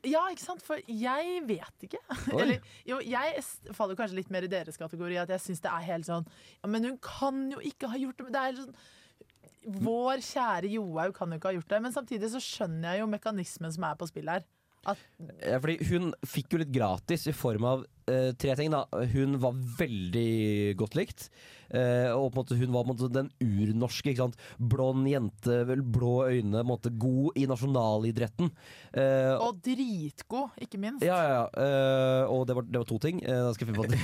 [SPEAKER 7] Ja, ikke sant? For jeg vet ikke.
[SPEAKER 8] Oi.
[SPEAKER 7] Eller, jo, jeg s- faller kanskje litt mer i deres kategori, at jeg syns det er helt sånn ja, Men hun kan jo ikke ha gjort det! men Det er helt sånn Vår kjære Johaug kan jo ikke ha gjort det. Men samtidig så skjønner jeg jo mekanismen som er på spill her. At
[SPEAKER 8] Eh, Fordi hun fikk jo litt gratis i form av eh, tre ting. da Hun var veldig godt likt. Eh, og på en måte hun var på en måte den urnorske. ikke sant? Blond jente, vel, blå øyne, på en måte god i nasjonalidretten. Eh,
[SPEAKER 7] Og dritgod, ikke minst.
[SPEAKER 8] ja, ja, ja. Eh, og det var, det var to ting. Eh, da skal jeg finne på det.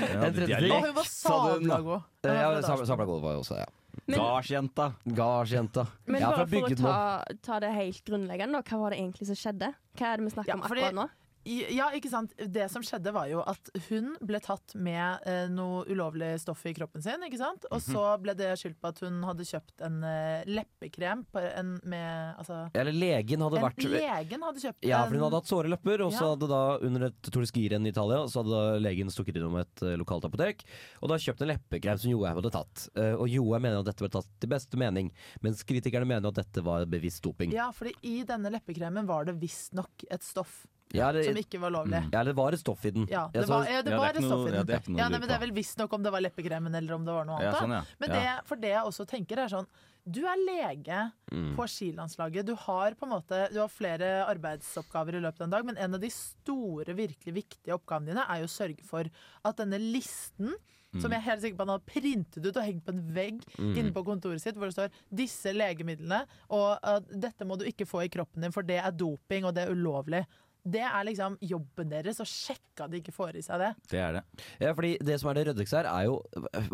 [SPEAKER 8] [LAUGHS] En tredje ting.
[SPEAKER 7] Og hun var sabla god.
[SPEAKER 8] Eh, ja, sab- sabla god var jeg også, ja.
[SPEAKER 10] Men-
[SPEAKER 9] Gardsjenta.
[SPEAKER 8] Gardsjenta.
[SPEAKER 10] Men
[SPEAKER 8] Jeg er fra
[SPEAKER 10] bare for å
[SPEAKER 8] Bygdemo.
[SPEAKER 10] ta, ta det helt grunnleggende, da, hva var det egentlig som skjedde? Hva er det vi snakker om
[SPEAKER 7] fordi-
[SPEAKER 10] akkurat nå?
[SPEAKER 7] I- Ja, ikke sant. Det som skjedde var jo at hun ble tatt med eh, noe ulovlig stoff i kroppen sin. ikke sant? Og
[SPEAKER 8] Mhm.
[SPEAKER 7] så ble det skyldt på at hun hadde kjøpt en eh, leppekrem på en, med altså,
[SPEAKER 8] Eller legen hadde
[SPEAKER 7] en,
[SPEAKER 8] vært
[SPEAKER 7] Legen hadde kjøpt
[SPEAKER 8] Ja,
[SPEAKER 7] en
[SPEAKER 8] for hun hadde hatt såre lepper, og så
[SPEAKER 7] Ehm, Ja.
[SPEAKER 8] hadde da under et torskirenn i Italia Så hadde da legen stukket innom et eh, lokalt apotek og da kjøpt en leppekrem som Johaug hadde tatt. Eh, og Johaug mener at dette ble tatt til beste mening, mens kritikerne mener at dette var bevisst doping.
[SPEAKER 7] Ja, fordi i denne leppekremen var det visstnok et stoff
[SPEAKER 8] Ja, det-
[SPEAKER 7] som ikke var lovlig.
[SPEAKER 8] Ja, eller var det stoff i den?
[SPEAKER 7] Ja,
[SPEAKER 8] Jeg
[SPEAKER 7] det
[SPEAKER 8] så-
[SPEAKER 7] var, ja, det var et stoff i den. Ja, nei, men det er vel visstnok om det var leppekremen eller om det var noe
[SPEAKER 8] Ja,
[SPEAKER 7] annet. da.
[SPEAKER 8] sånn, ja.
[SPEAKER 7] Men det,
[SPEAKER 8] Ja.
[SPEAKER 7] for det jeg også tenker er sånn Du er lege
[SPEAKER 8] Mm.
[SPEAKER 7] på skilandslaget. Du har på en måte Du har flere arbeidsoppgaver i løpet av en dag, men en av de store, virkelig viktige oppgavene dine er jo å sørge for at denne listen
[SPEAKER 10] Mm.
[SPEAKER 7] Som jeg er helt sikker på han har printet ut og hengt på en vegg
[SPEAKER 10] Mm.
[SPEAKER 7] inne på kontoret sitt, hvor det står 'disse legemidlene' og at 'dette må du ikke få i kroppen din, for det er doping, og det er ulovlig'. Det er liksom jobben deres å sjekke at de ikke får i seg det.
[SPEAKER 9] Det er det.
[SPEAKER 8] Ja, fordi det som er det røddigste her, er jo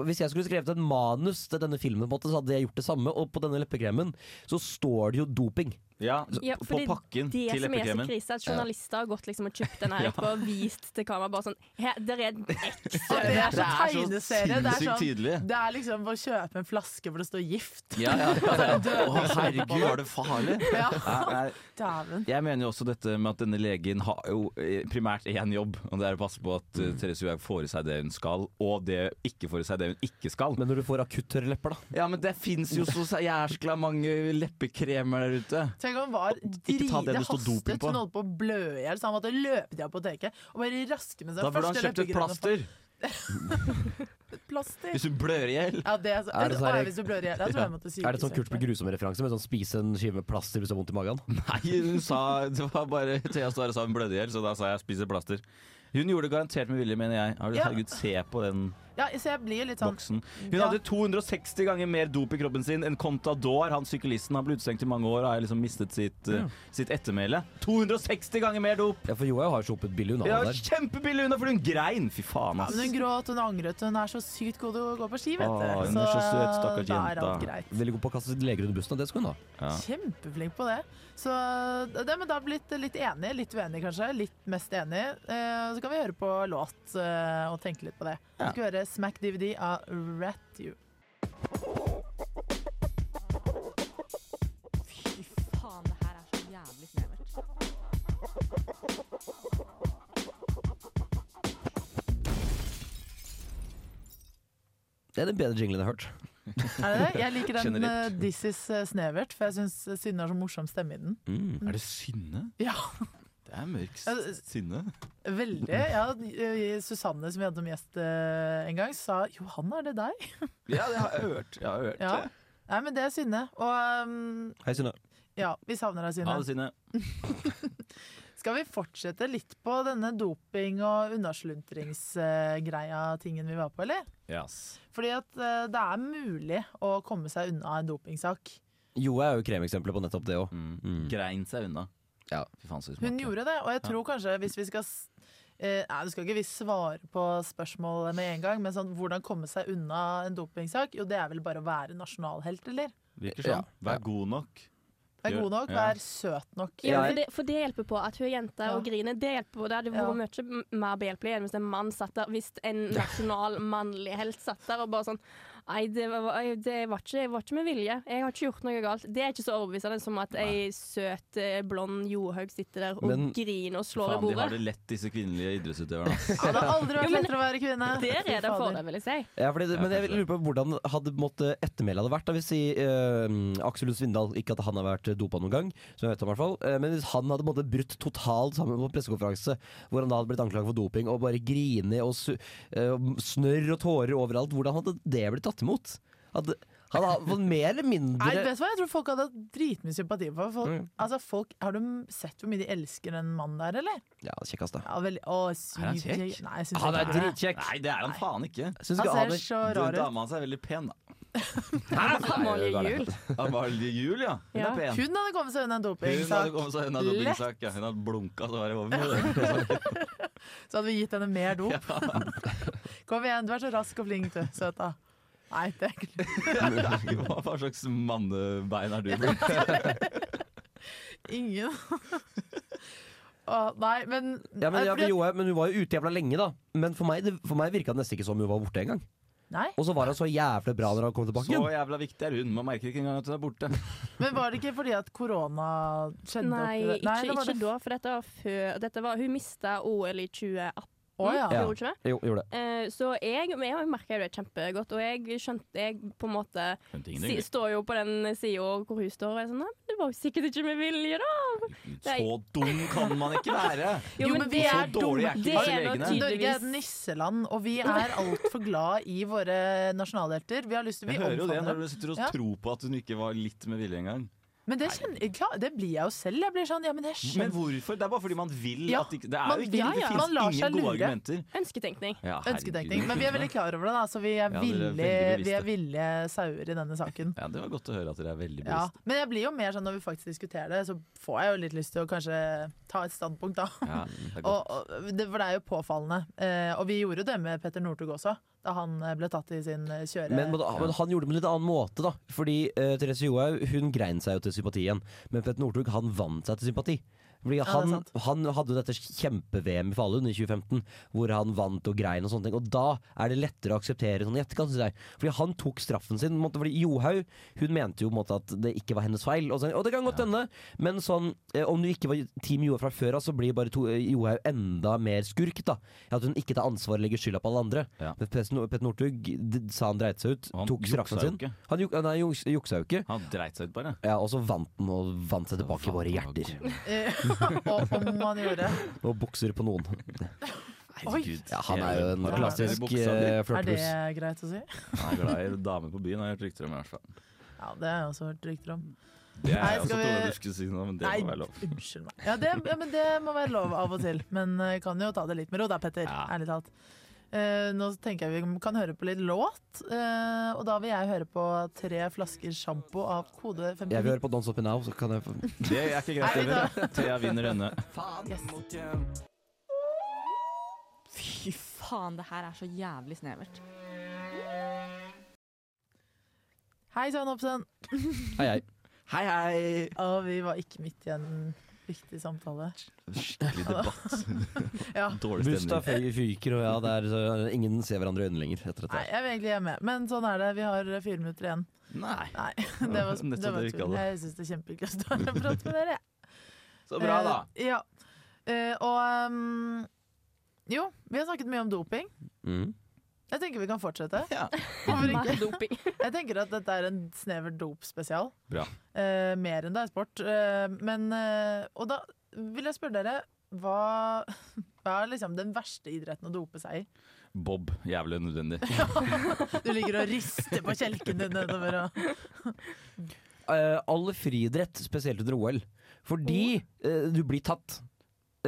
[SPEAKER 8] Hvis jeg skulle skrevet et manus til denne filmen, på en måte, så hadde jeg gjort det samme, og på denne leppekremen så står det jo doping.
[SPEAKER 9] Ja,
[SPEAKER 10] Ja,
[SPEAKER 8] på
[SPEAKER 10] fordi
[SPEAKER 8] pakken
[SPEAKER 10] det
[SPEAKER 8] til
[SPEAKER 10] som er så
[SPEAKER 8] leppekremen.
[SPEAKER 10] krise, er at
[SPEAKER 8] Ja.
[SPEAKER 10] journalister har gått liksom og kjøpt den her
[SPEAKER 8] Ja.
[SPEAKER 10] etterpå og vist til kamera bare sånn Her, der er en X.
[SPEAKER 7] Det er så tegneserie. Det er,
[SPEAKER 9] sinnssykt tydelig.
[SPEAKER 7] sånn, det er liksom å kjøpe en flaske hvor det står gift.
[SPEAKER 9] Ja,
[SPEAKER 10] [LAUGHS]
[SPEAKER 9] ja.
[SPEAKER 7] Døde.
[SPEAKER 9] Å, herregud, var det farlig?
[SPEAKER 7] Ja.
[SPEAKER 9] Nei, nei.
[SPEAKER 7] Dæven.
[SPEAKER 9] Jeg mener jo også dette med at denne legen har jo eh, primært én jobb, og det er å passe på at eh, Therese Johaug får i seg det hun skal, og det ikke får i seg det hun ikke skal.
[SPEAKER 8] Men når du får akutt tørre lepper, da?
[SPEAKER 9] Ja, men det fins jo så jæskla mange leppekremer der ute.
[SPEAKER 7] Tenk om han var
[SPEAKER 9] ikke ta
[SPEAKER 7] drite
[SPEAKER 9] det det står doping
[SPEAKER 7] hastet,
[SPEAKER 9] på.
[SPEAKER 7] hun holdt på å blø i hjel, så han måtte løpe til apoteket og bare raske med seg
[SPEAKER 9] Da burde han
[SPEAKER 7] første
[SPEAKER 9] kjøpt et
[SPEAKER 7] løpegrønne
[SPEAKER 9] plaster.
[SPEAKER 7] fa- plaster.
[SPEAKER 9] Hvis hun blør i hjel.
[SPEAKER 7] Ja, det er, så,
[SPEAKER 8] Er det sånn her-
[SPEAKER 7] Å, hvis du blør i hjel, da tror jeg jeg måtte
[SPEAKER 8] Ja. Er det sånn Kurt
[SPEAKER 7] sykesøke.
[SPEAKER 8] med grusomme-referanse? Med sånn spise en skive med plaster hvis du har vondt i magen?
[SPEAKER 9] Nei, hun sa Det var bare Thea Stare sa hun blødde i hjel, så da sa jeg 'spiser plaster'. Hun gjorde det garantert med vilje, mener jeg. Har du-
[SPEAKER 7] Ja.
[SPEAKER 9] Herregud, se på den
[SPEAKER 7] Ja, så jeg blir jo litt sånn
[SPEAKER 9] Boksen. Hun
[SPEAKER 7] Ja.
[SPEAKER 9] hadde 260 ganger mer dop i kroppen sin enn Contador. Han syklisten har blitt utestengt i mange år og har liksom mistet sitt, eh,
[SPEAKER 8] Ja.
[SPEAKER 9] sitt ettermæle. 260 ganger mer dop!
[SPEAKER 8] Ja, for Joa har jo sluppet billig unna
[SPEAKER 9] Ja,
[SPEAKER 8] det der.
[SPEAKER 9] Kjempebillig unna, for hun grein! Fy faen,
[SPEAKER 7] Ja,
[SPEAKER 9] ass.
[SPEAKER 7] men hun gråt, hun angret, hun er så sykt god til å gå på ski, vet du.
[SPEAKER 9] Å, hun er så søt, stakkars
[SPEAKER 7] da er alt
[SPEAKER 9] jenta.
[SPEAKER 7] greit.
[SPEAKER 8] Veldig god på å kaste leger under bussen, og det skal hun ha.
[SPEAKER 7] Kjempeflink på det. Så eh, det, men da har vi blitt litt enig, litt uenig kanskje. Litt mest enig. Eh, så kan vi høre på låt eh, og tenke litt på det. Vi skal høre Smack DVD av Rat You.
[SPEAKER 12] Faen, det her er så jævlig snevert.
[SPEAKER 8] Det er den bedre jinglen jeg har hørt.
[SPEAKER 7] Er det det? Jeg liker den eh,
[SPEAKER 8] Generelt.
[SPEAKER 7] This Is eh, Snevert, for jeg syns Synne har så morsom stemme i den.
[SPEAKER 9] Mm. Er det Synne?
[SPEAKER 7] Ja, [LAUGHS]
[SPEAKER 9] Det er mørk s-
[SPEAKER 7] Ja, det-
[SPEAKER 9] Synne.
[SPEAKER 7] veldig. Ja, eh, Susanne, som vi hadde som gjest eh, en gang, sa 'Johanna, er det deg?'
[SPEAKER 9] Ja, det har jeg hørt. [LAUGHS] Jeg har hørt
[SPEAKER 7] Ja.
[SPEAKER 9] det.
[SPEAKER 7] Nei, men det er Synne. Og um,
[SPEAKER 8] Hei, Synne.
[SPEAKER 7] ja, vi savner deg,
[SPEAKER 9] Ha
[SPEAKER 7] Synne.
[SPEAKER 9] det, Synne.
[SPEAKER 7] Skal vi fortsette litt på denne doping- og unnasluntringsgreia, tingen vi var på, eller?
[SPEAKER 9] Yes.
[SPEAKER 7] Fordi at eh, det er mulig å komme seg unna en dopingsak.
[SPEAKER 8] Joa er jo kremeksempelet på nettopp det Mm. òg.
[SPEAKER 9] Mm. Grein seg unna.
[SPEAKER 8] Ja.
[SPEAKER 9] Fy faen, så hun
[SPEAKER 7] Hun
[SPEAKER 9] smakte.
[SPEAKER 7] gjorde det, og jeg tror kanskje hvis vi skal s- eh, Nei, du skal ikke vi svare på spørsmålet med en gang, men sånn, hvordan komme seg unna en dopingsak? Jo, det er vel bare å være nasjonalhelt, eller?
[SPEAKER 9] Virker
[SPEAKER 8] Ja.
[SPEAKER 9] sånn. Vær god nok.
[SPEAKER 7] Vær god nok,
[SPEAKER 9] Ja.
[SPEAKER 7] vær søt nok.
[SPEAKER 10] [LAUGHS] Ja, for, det, for det hjelper på at hun er jente og griner. Det hjelper på. Det hadde
[SPEAKER 7] Ja.
[SPEAKER 10] vært mye m- mer behjelpelig enn hvis en mann satt der. Hvis en [LAUGHS] nasjonal mannlig helt satt der og bare sånn Nei, det var, jeg- det var, ikke, det var ikke med vilje. Jeg har ikke gjort noe galt. Det er ikke så overbevisende som at ei søt, eh, blond Johaug sitter der og
[SPEAKER 9] Men-
[SPEAKER 10] griner og slår i
[SPEAKER 9] Faen, de har
[SPEAKER 10] bordet.
[SPEAKER 9] det lett, disse kvinnelige
[SPEAKER 7] [LAUGHS]
[SPEAKER 9] idrettsutøverne. ass.
[SPEAKER 7] Ja, det har aldri vært
[SPEAKER 10] Jo, men
[SPEAKER 7] lettere å være kvinne.
[SPEAKER 10] Der
[SPEAKER 7] Fy
[SPEAKER 10] er det en
[SPEAKER 7] fader.
[SPEAKER 10] fordel, vil jeg si.
[SPEAKER 8] Ja, fordi, det-
[SPEAKER 9] Ja,
[SPEAKER 8] men jeg
[SPEAKER 9] kanskje
[SPEAKER 8] lurer på hvordan hadde måtte ettermælet hadde vært da, hvis si, eh, Aksel Lund Svindal Ikke at han har vært dopa noen gang, som jeg vet om i hvert fall. eh, men hvis han hadde måtte brutt totalt sammen på pressekonferanse, hvor han da hadde blitt anklaget for doping og bare grine og su eh, og snørr og tårer overalt, hvordan hadde det blitt tatt imot? Hadde, han hadde fått mer eller mindre
[SPEAKER 7] Nei, vet du hva? Jeg tror folk hadde hatt dritmye sympati for folk, altså, folk, Har du m- sett hvor mye de elsker den mannen der, eller?
[SPEAKER 8] Ja, kjekkast, da.
[SPEAKER 7] Ja, veldig, å, sykt
[SPEAKER 9] han
[SPEAKER 7] kjekk.
[SPEAKER 9] kjekk?
[SPEAKER 7] Nei, jeg syns
[SPEAKER 8] Han er
[SPEAKER 7] ikke det.
[SPEAKER 8] dritkjekk!
[SPEAKER 9] Nei, det er han faen ikke.
[SPEAKER 8] Syns
[SPEAKER 7] Han
[SPEAKER 8] ikke
[SPEAKER 7] ser
[SPEAKER 8] Aner
[SPEAKER 7] så
[SPEAKER 9] Du,
[SPEAKER 7] rar ut.
[SPEAKER 9] Dama hans er veldig pen, da.
[SPEAKER 10] Amalie Juel.
[SPEAKER 9] [LAUGHS] Amalie Juel, ja. Hun
[SPEAKER 10] Ja.
[SPEAKER 9] er pen.
[SPEAKER 7] Hun hadde kommet seg unna en
[SPEAKER 9] Hun hadde
[SPEAKER 7] dopingsak.
[SPEAKER 9] kommet seg unna dopingsak. Ja. Hun hadde blunka, så var det over. [LAUGHS]
[SPEAKER 7] Så hadde vi gitt henne mer dop. Kom igjen, du er så rask og flink, du, søta. Nei, det er ikke
[SPEAKER 9] Nei, Hva hva slags mannebein er du blitt?
[SPEAKER 7] ingen. Å, nei, men,
[SPEAKER 8] Ja, men,
[SPEAKER 7] nei,
[SPEAKER 8] ja, men,
[SPEAKER 7] fordi at-
[SPEAKER 8] Johaug- men hun var jo ute jævla lenge, da. Men for meg, det, for meg virka det nesten ikke som hun var borte engang.
[SPEAKER 7] nei,
[SPEAKER 8] Og så var hun så jævlig bra når hun kom tilbake
[SPEAKER 9] Så
[SPEAKER 8] igjen.
[SPEAKER 9] jævla viktig er hun. Man merker ikke engang at hun er borte.
[SPEAKER 7] men var det ikke fordi at korona skjedde oppi
[SPEAKER 10] Nei,
[SPEAKER 7] det?
[SPEAKER 10] ikke,
[SPEAKER 7] det var
[SPEAKER 10] ikke
[SPEAKER 7] det-
[SPEAKER 10] da, for dette var før dette var, Hun mista OL i 2018,
[SPEAKER 7] Å, ja.
[SPEAKER 10] gjorde hun ikke det?
[SPEAKER 8] Jo, gjorde det.
[SPEAKER 10] Eh, Så jeg, men jeg merka det kjempegodt, og jeg skjønte Jeg på en måte si, står jo på den sida hvor hun står, og jeg er sånn Nei, men det var jo sikkert ikke med vilje, da.
[SPEAKER 9] Så dum kan man ikke være!
[SPEAKER 10] Jo, men det
[SPEAKER 9] så
[SPEAKER 10] er
[SPEAKER 9] dårlig er ikke
[SPEAKER 10] Det
[SPEAKER 9] disse
[SPEAKER 10] er nok
[SPEAKER 9] legene.
[SPEAKER 10] tydelig.
[SPEAKER 7] Norge er et nisseland, og vi er altfor glad i våre nasjonalhelter. Vi har lyst til vi
[SPEAKER 9] Jeg hører jo det når
[SPEAKER 7] omfavner
[SPEAKER 9] du
[SPEAKER 7] dem.
[SPEAKER 9] sitter og
[SPEAKER 7] Ja.
[SPEAKER 9] tror på at hun ikke var litt med vilje engang.
[SPEAKER 7] Men det, kjenner, klar, det blir jeg jo selv. Jeg blir sånn, ja, men jeg
[SPEAKER 9] Men
[SPEAKER 7] skjønner
[SPEAKER 9] hvorfor? Det er bare fordi man vil
[SPEAKER 7] Ja,
[SPEAKER 9] at ikke, Det
[SPEAKER 7] man
[SPEAKER 9] er jo
[SPEAKER 7] vil,
[SPEAKER 9] ikke det
[SPEAKER 7] ja.
[SPEAKER 9] finnes
[SPEAKER 7] Man lar seg
[SPEAKER 9] ingen gode
[SPEAKER 7] lure.
[SPEAKER 9] argumenter.
[SPEAKER 10] Ønsketenkning.
[SPEAKER 9] Ja,
[SPEAKER 7] Ønsketenkning.
[SPEAKER 9] herregud.
[SPEAKER 7] Men vi er veldig klar over det, da, så vi er
[SPEAKER 9] Ja, dere er veldig
[SPEAKER 7] villige, vi
[SPEAKER 9] bevisste.
[SPEAKER 7] er villige sauer i denne saken.
[SPEAKER 9] [LAUGHS] Ja, Det var godt å høre at dere er veldig
[SPEAKER 7] Ja.
[SPEAKER 9] bevisste.
[SPEAKER 7] Men jeg blir jo mer sånn når vi faktisk diskuterer det, så får jeg jo litt lyst til å kanskje ta et standpunkt, da.
[SPEAKER 9] Ja, det
[SPEAKER 7] [LAUGHS]
[SPEAKER 9] er godt.
[SPEAKER 7] Og, og, det, for det er jo påfallende. Eh, og vi gjorde jo det med Petter Northug også, da han eh, ble tatt i sin eh, kjøre...
[SPEAKER 8] Men, men, men han gjorde det på en litt annen måte, da. Fordi eh, Therese Johaug hun grein seg jo til sympati igjen. Men Petter Northug han vant seg til sympati. Fordi
[SPEAKER 7] det er
[SPEAKER 8] han,
[SPEAKER 7] sant.
[SPEAKER 8] han hadde jo dette kjempe-VM i Falun i 2015, hvor han vant og grein og sånne ting. Og da er det lettere å akseptere sånn i etterkant, synes jeg. Fordi han tok straffen sin. på en måte. Fordi Johaug hun mente jo på en måte at det ikke var hennes feil. Og, så, og det kan godt hende, men sånn eh, om du ikke var Team Johaug fra før av, så blir bare to- eh, Johaug enda mer skurk, da. At hun ikke tar ansvar og legger skylda på alle andre.
[SPEAKER 9] Ja.
[SPEAKER 8] Men Petter Petter Northug d- sa han dreit seg ut,
[SPEAKER 9] Og han
[SPEAKER 8] tok straffen
[SPEAKER 9] juksa jo
[SPEAKER 8] sin.
[SPEAKER 9] ikke.
[SPEAKER 8] Han juk, nei, juks- juksa jo ikke.
[SPEAKER 9] Han dreit seg ut, bare.
[SPEAKER 8] Ja, og så vant han og vant seg tilbake i våre hjerter.
[SPEAKER 7] [LAUGHS] og om han gjorde
[SPEAKER 8] Og bukser på noen. [LAUGHS]
[SPEAKER 7] Oi!
[SPEAKER 8] Ja, han er jo en
[SPEAKER 7] Ja.
[SPEAKER 8] klassisk
[SPEAKER 9] Buksa di.
[SPEAKER 8] eh,
[SPEAKER 7] Er det
[SPEAKER 8] flørtebuss.
[SPEAKER 7] greit å si?
[SPEAKER 9] Han er glad i damer på byen, har jeg hørt rykter om. i hvert fall.
[SPEAKER 7] Ja, det har jeg også hørt rykter om.
[SPEAKER 9] Det er
[SPEAKER 7] Nei,
[SPEAKER 9] jeg også
[SPEAKER 7] skal vi-
[SPEAKER 9] trodde du skulle si noe, men det må være lov.
[SPEAKER 7] unnskyld meg. Ja, det, ja, men det må være lov av og til. Men eh, kan jo ta det litt med ro da, Petter.
[SPEAKER 9] Ja.
[SPEAKER 7] Ærlig talt. Eh, nå tenker jeg vi kan høre på litt låt, eh, og da vil jeg høre på tre flasker sjampo av kode 59.
[SPEAKER 8] Jeg vil høre på Don't Stop Me Now, så kan jeg få
[SPEAKER 9] Det er ikke greit, Even. Thea vinner denne.
[SPEAKER 12] Fy faen, det her er så jævlig snevert.
[SPEAKER 7] Hei sann, Hopsen.
[SPEAKER 8] Hei, hei.
[SPEAKER 9] Hei, hei.
[SPEAKER 7] Og vi var ikke midt i en viktig samtale.
[SPEAKER 9] Skikkelig debatt.
[SPEAKER 7] ja.
[SPEAKER 9] Dårlig
[SPEAKER 8] Busta
[SPEAKER 9] stemning.
[SPEAKER 8] fyker, og ja, det er, så ingen ser hverandre i øynene lenger etter
[SPEAKER 7] Nei,
[SPEAKER 8] dette.
[SPEAKER 7] jeg vil egentlig hjemme, men sånn er det. Vi har eh, fire minutter igjen. [LAUGHS]
[SPEAKER 9] Nei.
[SPEAKER 10] [LAUGHS]
[SPEAKER 7] Det var,
[SPEAKER 9] Nettopp
[SPEAKER 7] det var
[SPEAKER 9] [LAUGHS] det vi
[SPEAKER 7] tull.
[SPEAKER 9] kaller det.
[SPEAKER 7] Jeg syns det er kjempehyggelig å stå her og prate med dere.
[SPEAKER 9] Så bra, da.
[SPEAKER 7] Eh, ja. Eh, og ehm, jo, vi har snakket mye om doping.
[SPEAKER 8] Mm.
[SPEAKER 7] Jeg tenker vi kan fortsette.
[SPEAKER 9] [LAUGHS] Ja.
[SPEAKER 7] Hvorfor ikke? Jeg tenker at dette er en snever dop-spesial.
[SPEAKER 9] Bra.
[SPEAKER 7] Eh, mer enn det er sport. Eh, men, eh, og da vil jeg spørre dere hva, [LAUGHS] hva er liksom den verste idretten å dope seg i? [LAUGHS]
[SPEAKER 10] Eh,
[SPEAKER 9] Bob. Jævlig nødvendig.
[SPEAKER 7] Du ligger og rister på kjelken din nedover og
[SPEAKER 8] Eh, all friidrett, spesielt under OL. Fordi
[SPEAKER 7] Oh.
[SPEAKER 8] eh, du blir tatt.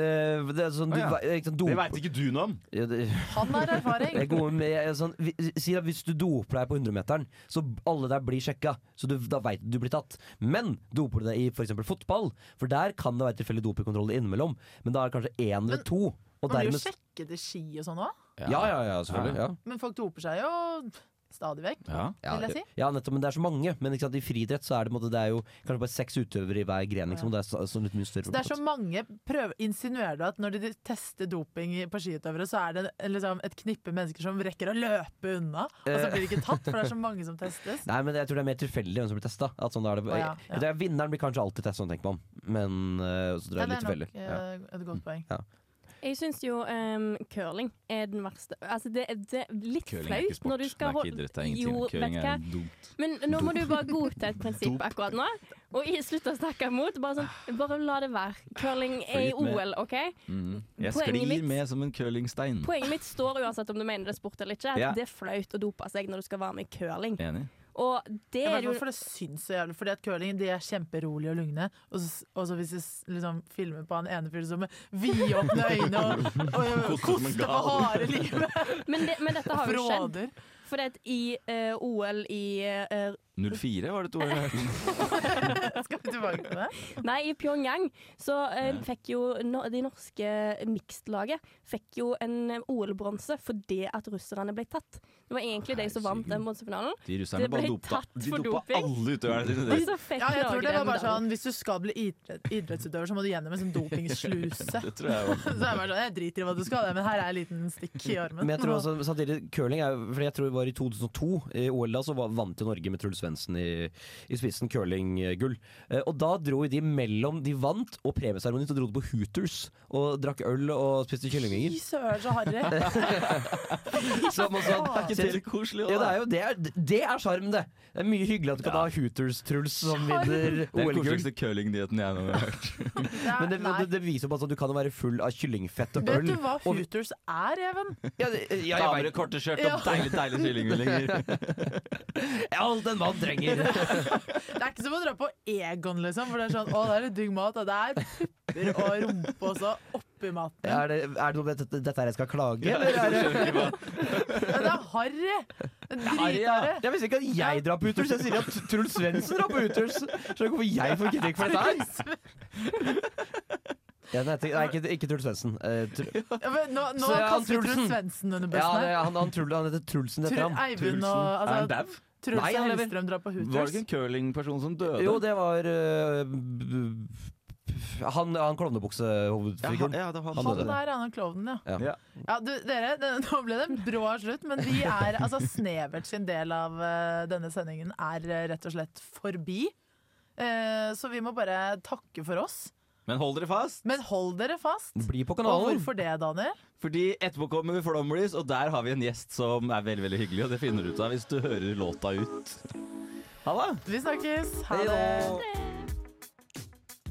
[SPEAKER 8] Eh, det er sånn,
[SPEAKER 9] Å
[SPEAKER 8] du,
[SPEAKER 9] ja.
[SPEAKER 8] vei- ikke sant,
[SPEAKER 9] [LAUGHS] Det
[SPEAKER 8] dop-
[SPEAKER 9] veit ikke du noe om.
[SPEAKER 8] Ja, det-
[SPEAKER 7] Han har erfaring!
[SPEAKER 8] Jeg går med, jeg er sånn, vi- si at hvis du doper deg på 100-meteren, så b- alle der blir sjekka. Så du, da veit du du blir tatt. Men doper du deg i f.eks. fotball, for der kan det være tilfeldig dopingkontroll innimellom, men da er det kanskje én eller to. Og
[SPEAKER 7] Man blir jo
[SPEAKER 8] dermed
[SPEAKER 7] sjekket i ski og sånn òg.
[SPEAKER 8] Ja, ja, ja, selvfølgelig. Ja.
[SPEAKER 7] Men folk doper seg jo stadig vekk,
[SPEAKER 8] Ja,
[SPEAKER 7] vil jeg si.
[SPEAKER 8] ja, nettopp, men det er så mange. Men ikke sant, i friidrett så er det, på en måte, det er jo kanskje bare seks utøvere i hver gren. Liksom, og det er så, sånn litt mye større.
[SPEAKER 7] Så det er så mange prøver, Insinuerer du at når de tester doping i- på skiutøvere, så er det en- liksom et knippe mennesker som rekker å løpe unna, og så
[SPEAKER 8] Eh.
[SPEAKER 7] blir de ikke tatt, for det er så mange som testes?
[SPEAKER 8] Nei, men jeg tror det er mer tilfeldig hvem som blir testa. At sånn, da er det,
[SPEAKER 7] Å, ja, ja.
[SPEAKER 8] Det er- Vinneren blir kanskje alltid testa, tenker man. Men eh, så tror
[SPEAKER 7] Ja,
[SPEAKER 8] jeg det er
[SPEAKER 7] det
[SPEAKER 8] litt
[SPEAKER 7] er
[SPEAKER 8] tilfeldig.
[SPEAKER 7] nok
[SPEAKER 8] Ja.
[SPEAKER 7] eh, et godt
[SPEAKER 10] Mm.
[SPEAKER 7] poeng.
[SPEAKER 10] Jeg syns jo em, curling er den verste. Altså, det, er- det er litt
[SPEAKER 9] Curling er ikke
[SPEAKER 10] flaut når
[SPEAKER 9] sport.
[SPEAKER 10] du
[SPEAKER 9] Det
[SPEAKER 10] skal
[SPEAKER 9] er ikke
[SPEAKER 10] holde
[SPEAKER 9] idrett, det er ingenting.
[SPEAKER 10] Jo,
[SPEAKER 9] Curling
[SPEAKER 10] vet du
[SPEAKER 9] er
[SPEAKER 10] hva?
[SPEAKER 9] dumt.
[SPEAKER 10] Men nå må du bare godta et prinsipp akkurat nå, og i- slutt å snakke imot. Bare, sånn, bare la det være. Curling er i
[SPEAKER 9] Følg litt med.
[SPEAKER 10] OL, OK?
[SPEAKER 9] Mhm. Jeg
[SPEAKER 10] Poenget
[SPEAKER 9] sklir
[SPEAKER 10] mitt-
[SPEAKER 9] med som en curlingstein.
[SPEAKER 10] Poenget mitt står uansett om du mener det er sport eller ikke, at
[SPEAKER 9] Ja.
[SPEAKER 10] det er flaut å dope seg når du skal være med i curling.
[SPEAKER 9] Enig.
[SPEAKER 10] Og det
[SPEAKER 7] Jeg
[SPEAKER 10] er
[SPEAKER 7] vet
[SPEAKER 10] jo
[SPEAKER 7] hvorfor det syns så jævlig, fordi at curling de er kjemperolige og lugne. Og så, og så hvis jeg s- liksom filmer på han ene fyren som med vidåpne øyne og, og, og
[SPEAKER 9] Koster som en
[SPEAKER 7] koster på
[SPEAKER 9] gal.
[SPEAKER 7] harde livet
[SPEAKER 10] Men, det, men dette
[SPEAKER 7] og
[SPEAKER 10] har jo skjedd.
[SPEAKER 7] fråder.
[SPEAKER 10] For det at i eh, OL i eh,
[SPEAKER 9] 04 var det
[SPEAKER 10] [LAUGHS]
[SPEAKER 9] to år jeg hørte.
[SPEAKER 7] Skal vi tilbake til det?
[SPEAKER 10] Nei, i Pyongyang så eh, fikk jo no de norske mixed-laget fikk jo en OL-bronse fordi at russerne ble tatt. Det var egentlig de som vant den bronsefinalen.
[SPEAKER 9] De russerne
[SPEAKER 10] Det
[SPEAKER 9] bare
[SPEAKER 10] ble
[SPEAKER 9] dopte.
[SPEAKER 10] tatt
[SPEAKER 9] De
[SPEAKER 10] for
[SPEAKER 9] dopa
[SPEAKER 10] doping.
[SPEAKER 9] alle utøverne sine.
[SPEAKER 10] Og så fikk
[SPEAKER 7] Ja, jeg tror
[SPEAKER 10] Norge
[SPEAKER 7] det var
[SPEAKER 10] den
[SPEAKER 7] bare
[SPEAKER 10] medaljen.
[SPEAKER 7] sånn Hvis du skal bli idrett, idrettsutøver, så må du gjennom en sånn
[SPEAKER 9] [LAUGHS]
[SPEAKER 7] dopingsluse.
[SPEAKER 9] Det tror jeg var
[SPEAKER 7] Så er det bare sånn, jeg driter i hva du skal, men her er en liten stikk i armen.
[SPEAKER 8] Men jeg tror også, samtidig, curling er, fordi jeg tror det var i 2002, i OL da, så var- vant jo Norge med Truls Svendsen i, i spissen curlinggull. Eh, og da dro jo de mellom de vant og premieseremonien, så dro de på Hooters og drakk øl og spiste kyllingvinger.
[SPEAKER 7] Fy søren, så harry.
[SPEAKER 8] Som også-
[SPEAKER 9] Det er ikke det litt koselig
[SPEAKER 8] Ja,
[SPEAKER 9] også,
[SPEAKER 8] det
[SPEAKER 9] da?
[SPEAKER 8] er jo det er, det er sjarm, det. Det er mye hyggelig at du kan
[SPEAKER 9] Ja.
[SPEAKER 8] ha Hooters-Truls som vinner
[SPEAKER 9] Det er den
[SPEAKER 8] OL-gull.
[SPEAKER 9] koseligste curlingnyheten jeg noen gang har hørt.
[SPEAKER 8] Men det,
[SPEAKER 7] Nei.
[SPEAKER 8] det, det viser jo bare at du kan være full av kyllingfett og
[SPEAKER 7] Vet
[SPEAKER 8] øl.
[SPEAKER 7] du hva
[SPEAKER 8] og-
[SPEAKER 7] Hooters er, Even?
[SPEAKER 8] Ja, det- ja, jeg
[SPEAKER 9] Damer i
[SPEAKER 8] vet-
[SPEAKER 9] korte skjørt
[SPEAKER 7] Ja.
[SPEAKER 9] og deilig, deilig
[SPEAKER 10] [LAUGHS]
[SPEAKER 9] kyllingvinger.
[SPEAKER 8] Alt en mann [LAUGHS] trenger!
[SPEAKER 7] Det er ikke som å dra på Egon, liksom. For det er sånn, å, det er litt digg mat. Og det er pupper og rumpe også oppi maten.
[SPEAKER 8] Er det, er det noe med dette, dette her jeg skal klage,
[SPEAKER 9] Ja,
[SPEAKER 8] eller?
[SPEAKER 9] jeg skjønner ikke hva-
[SPEAKER 7] Men det er harry! Det er
[SPEAKER 8] Nei, ja.
[SPEAKER 7] Dritharry.
[SPEAKER 8] Jeg visste ikke at jeg drar på Hooters, jeg sier at Truls Svendsen drar på Hooters! Skjønner ikke hvorfor jeg får kritikk for dette her! Ja, nei, jeg tenker- nei, ikke, ikke Truls Svendsen. Eh, tr
[SPEAKER 7] Ja, men Nå, nå
[SPEAKER 8] Så er han
[SPEAKER 7] kaster vi Truls
[SPEAKER 8] Trulsen.
[SPEAKER 7] Svendsen under
[SPEAKER 8] ja,
[SPEAKER 7] bussen
[SPEAKER 8] det,
[SPEAKER 7] her.
[SPEAKER 8] han, han, Truls- han heter Trulsen etter
[SPEAKER 7] Tru-
[SPEAKER 8] ham.
[SPEAKER 7] Eivind og
[SPEAKER 9] Trulsen. Er han
[SPEAKER 7] altså,
[SPEAKER 9] dau?
[SPEAKER 7] Truls
[SPEAKER 8] Nei,
[SPEAKER 7] og
[SPEAKER 8] han lever.
[SPEAKER 7] Hellstrøm drar på
[SPEAKER 9] Var det
[SPEAKER 7] Hooters.
[SPEAKER 9] ikke en curlingperson som døde?
[SPEAKER 8] Jo, det var eh, b- b- Han, han
[SPEAKER 9] ja, han,
[SPEAKER 8] klovnebuksehovedfiguren.
[SPEAKER 9] ja, det var
[SPEAKER 8] Han
[SPEAKER 7] Han
[SPEAKER 9] han.
[SPEAKER 8] døde.
[SPEAKER 7] der, han er klovnen, ja.
[SPEAKER 8] Ja.
[SPEAKER 9] Ja.
[SPEAKER 7] Ja, du, dere, det, [LAUGHS] nå ble det en brå slutt, men vi er, altså Snevert sin del av eh, denne sendingen er eh, rett og slett forbi. Eh, så vi må bare takke for oss.
[SPEAKER 9] Men hold dere fast,
[SPEAKER 7] Men hold dere fast.
[SPEAKER 8] Bli på
[SPEAKER 7] Og
[SPEAKER 8] kanalen!
[SPEAKER 7] hvorfor det, Daniel?
[SPEAKER 9] fordi etterpå kommer vi Flomlys, og der har vi en gjest som er veldig veldig hyggelig, og det finner du ut av hvis du hører låta ut. Ha det!
[SPEAKER 7] Vi snakkes. Ha det.